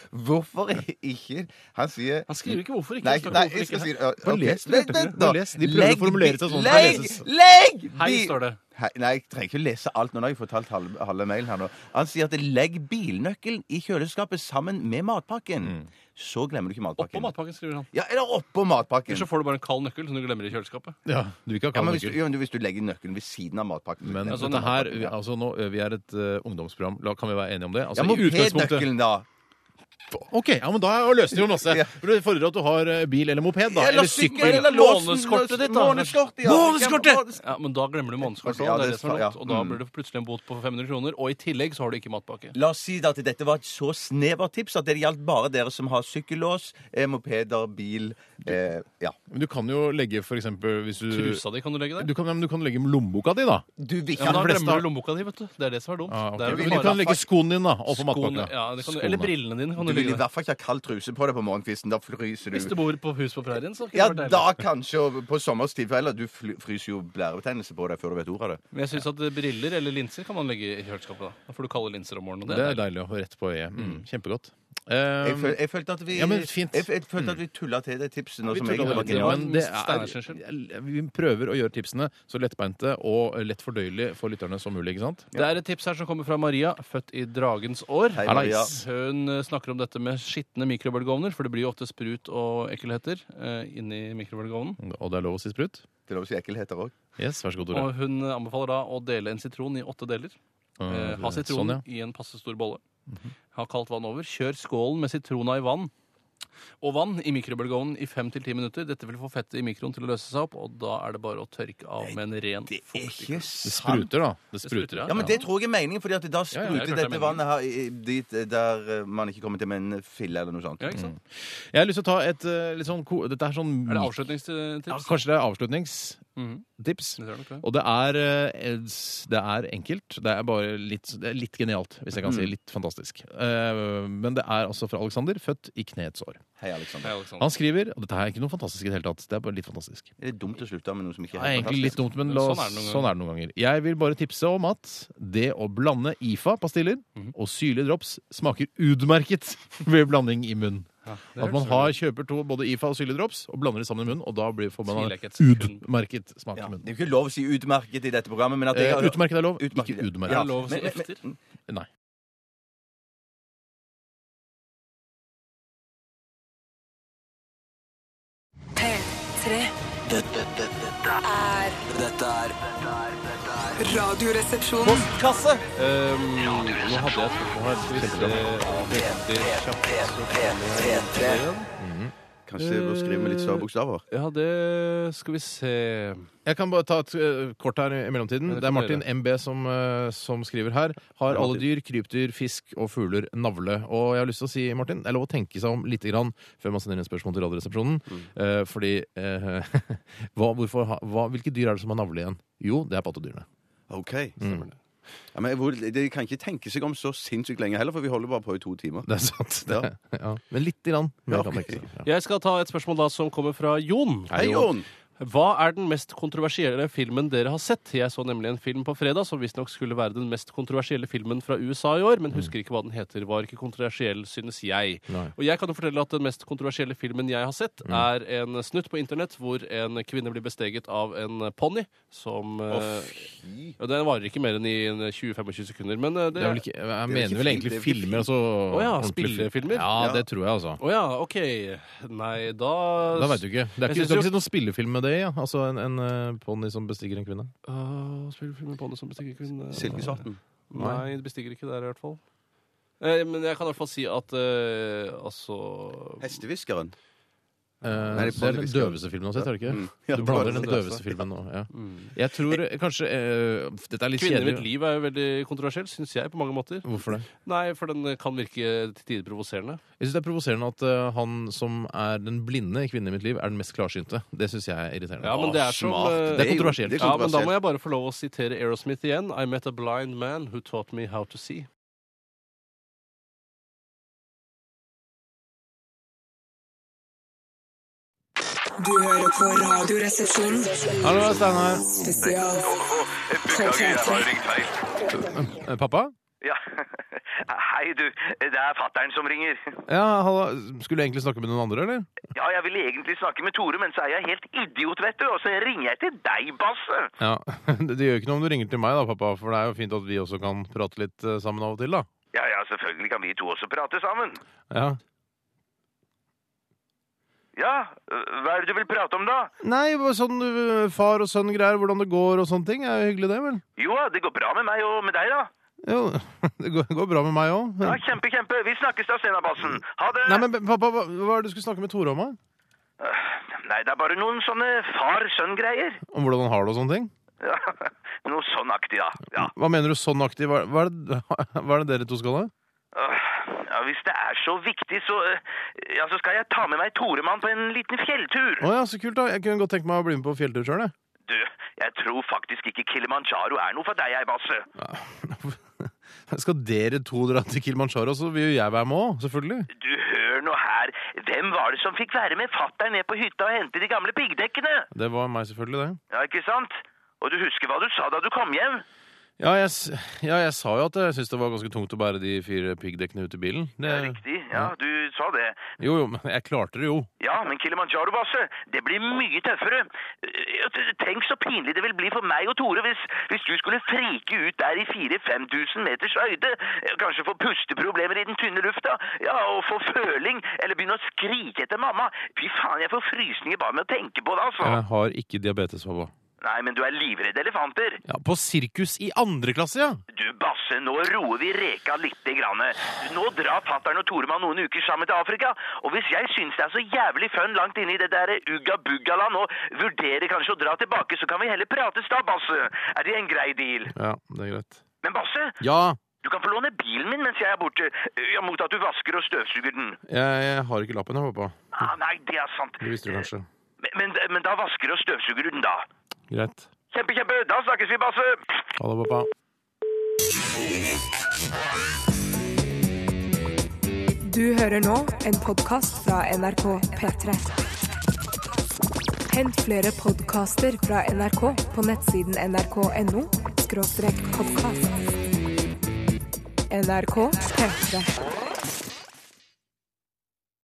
Speaker 3: Hvorfor ikke? Han sier
Speaker 8: Han skriver ikke hvorfor ikke. Han
Speaker 3: Nei,
Speaker 8: snakker
Speaker 3: nei
Speaker 8: hvorfor
Speaker 3: jeg skal
Speaker 8: ikke.
Speaker 3: si
Speaker 8: Bare les det,
Speaker 3: Legg
Speaker 8: Bjarte.
Speaker 3: den,
Speaker 8: Bare
Speaker 3: da.
Speaker 8: les. De prøver å
Speaker 3: Legg-
Speaker 8: formulere seg sånn at det
Speaker 3: Legg!
Speaker 8: leses.
Speaker 3: Legg!
Speaker 8: Hei,
Speaker 3: bi-
Speaker 8: står det.
Speaker 3: Hei, nei, jeg trenger ikke lese alt. Nå har jeg fortalt halve, halve mailen her nå. Han sier at 'legg bilnøkkelen i kjøleskapet sammen med
Speaker 8: Mm.
Speaker 3: matpakken'. Så glemmer du ikke matpakken.
Speaker 4: På matpakken, skriver han.
Speaker 3: Ja, eller oppå matpakken.
Speaker 4: Ellers så får du bare en kald nøkkel som du glemmer i kjøleskapet.
Speaker 2: Ja, du vil ikke ha
Speaker 3: Ja,
Speaker 2: kald
Speaker 3: men hvis, du,
Speaker 2: nøkkel.
Speaker 3: ja, men hvis du legger nøkkelen ved siden av matpakken
Speaker 2: Men
Speaker 3: Ja,
Speaker 2: dette her, vi, altså nå, ø, vi er et ø, ungdomsprogram. La, kan vi være enige om det? Altså,
Speaker 3: Ja,
Speaker 2: i utgangspunktet-
Speaker 3: mopednøkkelen, da.
Speaker 2: OK, ja, men da er løsningen masse. For Det fordrer at du har ø, bil eller moped, da.
Speaker 3: Eller
Speaker 2: Eller
Speaker 3: sykkel,
Speaker 2: sykkel.
Speaker 3: eller låsen,
Speaker 4: Månedskortet ditt, da.
Speaker 3: månedskort, ja.
Speaker 4: Månedskortet! Ja, men da glemmer du månedskortet.
Speaker 3: Ja,
Speaker 4: og det
Speaker 3: det
Speaker 4: er det som er
Speaker 3: skal-
Speaker 4: lott.
Speaker 3: ja.
Speaker 4: Og da
Speaker 3: Mm.
Speaker 4: blir det plutselig en bot på 500 kroner, og i tillegg så har du ikke matpakke.
Speaker 3: La oss si da at dette var et så snevert tips at det gjaldt bare dere som har sykkellås, eh, mopeder, bil eh, Ja.
Speaker 2: Men du kan jo legge for eksempel hvis du
Speaker 4: Trusa di kan du legge der.
Speaker 2: Du kan, ja, men du kan legge lommeboka di, da.
Speaker 3: Du vil
Speaker 4: Ja, men da glemmer du lommeboka di, vet du. Det er det som er dumt.
Speaker 2: Ah, ok.
Speaker 4: Det er jo
Speaker 2: Men
Speaker 4: bare-
Speaker 2: du kan legge skoen din da, oppå
Speaker 4: Skoene-
Speaker 2: matpakka.
Speaker 4: Ja, det kan du,
Speaker 2: Skoene.
Speaker 4: eller brillene dine kan du,
Speaker 3: Du vil i
Speaker 4: legge der.
Speaker 3: hvert fall ikke ha kald truse på deg på morgenkvisten. Da fryser
Speaker 4: Hvis
Speaker 3: du.
Speaker 4: du bor på hus på prærien, så kan
Speaker 3: Ja,
Speaker 4: det være deilig.
Speaker 3: da kanskje og på sommerstid. For ellers du fly- fryser jo blærebetennelse på deg før du vet ordet av det.
Speaker 4: Men jeg syns at briller eller linser kan man legge i kjøleskapet. Da Da får du kalde linser om morgenen. Og
Speaker 2: Det er deilig å ha rett på øyet. Mm, kjempegodt.
Speaker 3: Jeg,
Speaker 2: Um,
Speaker 3: føl, jeg følte at vi
Speaker 2: Ja, men fint.
Speaker 3: Jeg, jeg følte at vi tulla til det tipset nå
Speaker 2: vi
Speaker 3: som
Speaker 2: tuller
Speaker 3: egentlig
Speaker 2: med
Speaker 3: var
Speaker 2: det,
Speaker 3: genialt.
Speaker 2: men det
Speaker 4: Steinar sin skyld.
Speaker 2: er, vi prøver å gjøre tipsene så lettbeinte og lett fordøyelige for lytterne som mulig. ikke sant?
Speaker 4: Det er et tips her som kommer fra Maria, født i dragens år.
Speaker 3: Hei, Maria.
Speaker 4: Hallais. Hun eh, snakker om dette med skitne mikrobølgeovner, for det blir jo ofte sprut og ekkelheter eh, inni mikrobølgeovnen.
Speaker 2: Og det er lov å si sprut?
Speaker 3: Det er lov å si ekkelheter òg.
Speaker 2: Yes, vær så god, Tore.
Speaker 4: Og hun anbefaler da å dele en sitron i åtte deler. Eh, ha sitronen
Speaker 2: Sånn, ja.
Speaker 4: i en passe stor bolle. Ha kaldt vann over. Kjør skålen med sitrona i vann. Og vann i mikrobølgeovnen i fem til ti minutter. Dette vil få fettet i mikroen til å løse seg opp, og da er det bare å tørke av med en ren fuktig
Speaker 3: Ikke
Speaker 2: Det
Speaker 3: sant?
Speaker 2: spruter, da. Det spruter,
Speaker 4: spruter,
Speaker 3: Ja, men Det tror jeg er meningen, fordi at da
Speaker 4: ja, jeg
Speaker 3: spruter
Speaker 4: tror det er
Speaker 3: dette vannet her i- i- dit eh, der eh, man ikke kommer til med en fille eller noe sånt. Mm.
Speaker 4: Ja, ikke sant?
Speaker 2: Jeg har lyst til å ta et eh, litt sånn ko- Dette er sånn
Speaker 4: Er det
Speaker 2: Ja,
Speaker 4: avslutningstips?
Speaker 2: kanskje det er avslutningstips.
Speaker 4: Mhm. Det tror jeg nok det.
Speaker 2: Og det er, eh, s- det er enkelt. Det er bare litt, det er litt genialt, hvis jeg kan
Speaker 4: Mm.
Speaker 2: si. Litt fantastisk. Eh, Men det er altså fra Alexander, født i kneets år.
Speaker 3: Hei, Alexander.
Speaker 4: Hei, Alexander.
Speaker 2: Han skriver og Dette her er ikke noe fantastisk i det hele tatt. Det er bare litt fantastisk.
Speaker 3: Er det dumt å slutte med noe som ikke
Speaker 2: Det
Speaker 3: er
Speaker 2: er
Speaker 3: helt
Speaker 2: egentlig litt
Speaker 3: fantastisk?
Speaker 2: dumt, men la,
Speaker 4: Sånn
Speaker 2: oss-
Speaker 4: er det noen ganger.
Speaker 2: sånn er det noen ganger. Jeg vil bare tipse om at det å blande IFA-pastiller
Speaker 4: Mhm.
Speaker 2: og syrlige drops smaker utmerket ved blanding i munnen.
Speaker 4: det
Speaker 2: at
Speaker 4: høres
Speaker 2: man
Speaker 4: veldig
Speaker 2: har, kjøper to, både IFA og syrlige drops og blander det sammen i munnen, og da blir, får man
Speaker 4: Tviler jeg ikke et sekund.
Speaker 2: utmerket smak
Speaker 3: Ja.
Speaker 2: i munnen.
Speaker 3: Det er jo ikke lov å si 'utmerket' i dette programmet, men at jeg
Speaker 2: Eh,
Speaker 3: har
Speaker 2: utmerket er lov,
Speaker 3: Utmerket.
Speaker 2: ikke
Speaker 4: Er
Speaker 2: udmerket.
Speaker 4: det lov å si
Speaker 3: Men- men-
Speaker 4: efter?
Speaker 2: Nei.
Speaker 6: P3
Speaker 5: Dette, dette, dette er
Speaker 6: er
Speaker 5: Dette er dette er- dette er
Speaker 6: Radioresepsjonen.
Speaker 4: Um, nå hadde jeg et spørsmål her. Skal vi se veldig kjapt.
Speaker 5: P3
Speaker 3: Kanskje jeg bør skrive med litt større bokstaver?
Speaker 4: Ja, det skal vi se
Speaker 2: Jeg kan bare ta et eh, kort her i mellomtiden.
Speaker 4: Ja, det
Speaker 2: Det er
Speaker 4: kan
Speaker 2: Martin
Speaker 4: dere.
Speaker 2: MB som, eh, som skriver her. Har alle dyr, krypdyr, fisk og fugler navle? Og jeg har lyst til å si, Martin, det er lov å tenke seg om litt grann før man sender inn spørsmål til Radioresepsjonen. Eh, fordi eh, hva, hvorfor, ha- hva, Hvilke dyr er det som har navle igjen? Jo, det er pattedyrene.
Speaker 3: OK.
Speaker 2: Mm.
Speaker 3: Ja, men hvor, De kan ikke tenke seg om så sinnssykt lenge heller, for vi holder bare på i to timer.
Speaker 2: Det er sant. Det,
Speaker 3: Ja.
Speaker 2: ja. Men lite grann. mer
Speaker 3: Ja,
Speaker 2: kan man tenke
Speaker 3: ok.
Speaker 2: seg. Ja.
Speaker 4: Jeg skal ta et spørsmål da som kommer fra Jon.
Speaker 3: Hei, Jon!
Speaker 4: Hva er den mest kontroversielle filmen dere har sett? Jeg så nemlig en film på fredag som visstnok skulle være den mest kontroversielle filmen fra USA i år, men husker ikke hva den heter. Var ikke kontroversiell, synes jeg.
Speaker 2: Mm. Nei. Mm.
Speaker 4: Og jeg kan jo fortelle at den mest kontroversielle filmen jeg har sett, er en snutt på internett hvor en kvinne blir besteget av en ponni som eh, ja, Den varer ikke mer enn i en 20-25 sekunder, men eh,
Speaker 2: Det er vel ikke, jeg
Speaker 3: vel ikke
Speaker 2: mener vel
Speaker 3: film, det
Speaker 2: egentlig
Speaker 3: er vel
Speaker 2: filmer, altså.
Speaker 4: Å ja,
Speaker 2: ordentlig film.
Speaker 4: spillefilmer?
Speaker 2: Ja,
Speaker 3: Ja.
Speaker 2: det tror jeg, altså.
Speaker 4: Å ja, OK. Nei, da
Speaker 2: Da veit du ikke. Det er
Speaker 4: Altså,
Speaker 2: ikke, du har
Speaker 4: Jeg synes jo-
Speaker 2: ikke sett noen spillefilm med det i? Ja. Altså en, en eh, ponni som bestiger en kvinne?
Speaker 4: Åh, Ah, spiller filmer på det som bestiger kvinne
Speaker 3: Silkesvarten.
Speaker 4: Nei, det bestiger ikke der i hvert fall. Eh, men jeg kan i hvert fall si at eh, altså
Speaker 3: Hestehviskeren.
Speaker 2: Eh,
Speaker 3: Nei,
Speaker 2: det er
Speaker 3: det er
Speaker 2: den
Speaker 3: vanligvis, ja.
Speaker 2: døveste filmen du har sett, er det ikke?
Speaker 3: Mm. Ja,
Speaker 2: du blander den
Speaker 3: det Mm. var det.
Speaker 2: døveste filmen nå. Ja. Jeg tror eh, kanskje eh, Dette er litt
Speaker 4: Kvinner i mitt
Speaker 2: kjedelig.
Speaker 4: liv er jo veldig kontroversiell, syns jeg, på mange måter.
Speaker 2: Hvorfor det?
Speaker 4: Nei, for den kan virke til tider provoserende.
Speaker 2: Jeg syns det er provoserende at eh, han som er den blinde i 'Kvinnen i mitt liv', er den mest klarsynte. Det syns jeg er irriterende.
Speaker 4: Ja, men det er som
Speaker 3: smart.
Speaker 4: eh,
Speaker 2: Det er
Speaker 3: jo-
Speaker 2: kontroversielt.
Speaker 3: det er
Speaker 4: Ja, men da
Speaker 3: kontroversielt.
Speaker 4: må jeg bare få lov å sitere Aerosmith igjen. I met a blind man who taught me how to see.
Speaker 6: Du hører på Radioresepsjonen.
Speaker 2: Hallo, Steinar.
Speaker 6: Spesial på P3.
Speaker 2: Eh, Pappa?
Speaker 12: Ja, hei du, det er fatteren som ringer.
Speaker 2: Ja, hallo. Skulle du egentlig snakke med noen andre, eller?
Speaker 12: Ja, jeg ville egentlig snakke med Tore, men så er jeg helt idiot, vet du, og så ringer jeg til deg, Basse.
Speaker 2: Ja, Det det gjør ikke noe om du ringer til meg, da, pappa, for det er jo fint at vi også kan prate litt eh, sammen av og til, da.
Speaker 12: Ja, ja, selvfølgelig kan vi to også prate sammen.
Speaker 2: Ja.
Speaker 12: Ja, øh, hva er det du vil prate om da?
Speaker 2: Nei, bare sånn eh, far og sønn-greier, hvordan det går og sånne ting. er jo hyggelig, det, vel?
Speaker 12: Jo, det går bra med meg og med deg da.
Speaker 2: Jo, det går, går bra med meg òg.
Speaker 12: Ja, kjempe, kjempe. Vi snakkes da senere, Bassen. Ha det!
Speaker 2: Nei, men pappa, hva, hva er det du skulle snakke med Tore om? da?
Speaker 12: Øh, Nei, det er bare noen sånne far-sønn-greier.
Speaker 2: Om hvordan han har det og sånne ting?
Speaker 12: Ja, noe sånn aktig da. Ja.
Speaker 2: Hva mener du sånn aktiv? Hva, hva, er det, hva er det dere to skal ha?
Speaker 12: Øh, Ja, hvis det er så viktig, så, øh, ja, så skal jeg ta med meg Toremann på en liten fjelltur.
Speaker 2: Å ja, så kult, da. Jeg kunne godt tenke meg å bli med på fjelltur sjøl, jeg.
Speaker 12: Du, jeg tror faktisk ikke Kilimanjaro er noe for deg, jeg, Basse.
Speaker 2: Skal dere to dra til Kilimanjaro, så vil jo jeg være med òg, selvfølgelig.
Speaker 12: Du, hør nå her. Hvem var det som fikk være med fatter'n ned på hytta og hente de gamle piggdekkene?
Speaker 2: Det var meg, selvfølgelig, det.
Speaker 12: Ja, ikke sant? Og du husker hva du sa da du kom hjem?
Speaker 2: Ja, jeg, s- ja, jeg sa jo at jeg syntes det var ganske tungt å bære de fire piggdekkene ut i bilen. Det,
Speaker 12: Riktig, ja, du sa det.
Speaker 2: jo, jo, men jeg klarte det jo.
Speaker 12: Ja, men Kilimanjaro, Basse, det blir mye tøffere. Eh, t- Tenk så pinlig det vil bli for meg og Tore hvis, hvis du skulle frike ut der i 4-5 tusen meters høyde. Eh, Kanskje få pusteproblemer i den tynne lufta, ja, og få føling, eller begynne å skrike etter mamma. Fy faen, jeg får frysninger bare med å tenke på det, altså.
Speaker 2: Jeg har ikke diabetes, pappa.
Speaker 12: Nei, men du er livredd elefanter.
Speaker 2: Ja, På sirkus i andre klasse, ja!
Speaker 12: Du, Basse, nå roer vi reka lite grann. Nå drar fatter'n og Toremann noen uker sammen til Afrika. Og hvis jeg syns det er så jævlig fun langt inne i det der ugga-bugga-land og vurderer kanskje å dra tilbake, så kan vi heller prates da, Basse. Er det en grei deal?
Speaker 2: Ja, det er greit.
Speaker 12: Men Basse,
Speaker 2: Ja,
Speaker 12: du kan få låne bilen min mens jeg er borte. Ja, mot at du vasker og støvsuger den.
Speaker 2: jeg, jeg har ikke lappen, jeg, pappa.
Speaker 12: Ah, nei, det er sant.
Speaker 2: Det visste du kanskje.
Speaker 12: Men, men, men da vasker og støvsuger du den, da.
Speaker 2: Greit.
Speaker 12: Kjempe, kjempe. Da snakkes vi, Basse.
Speaker 2: Ha det, pappa.
Speaker 1: Du hører nå en podkast fra NRK P3. Hent flere podkaster fra NRK på nettsiden nrk.no podkast. NRK P3.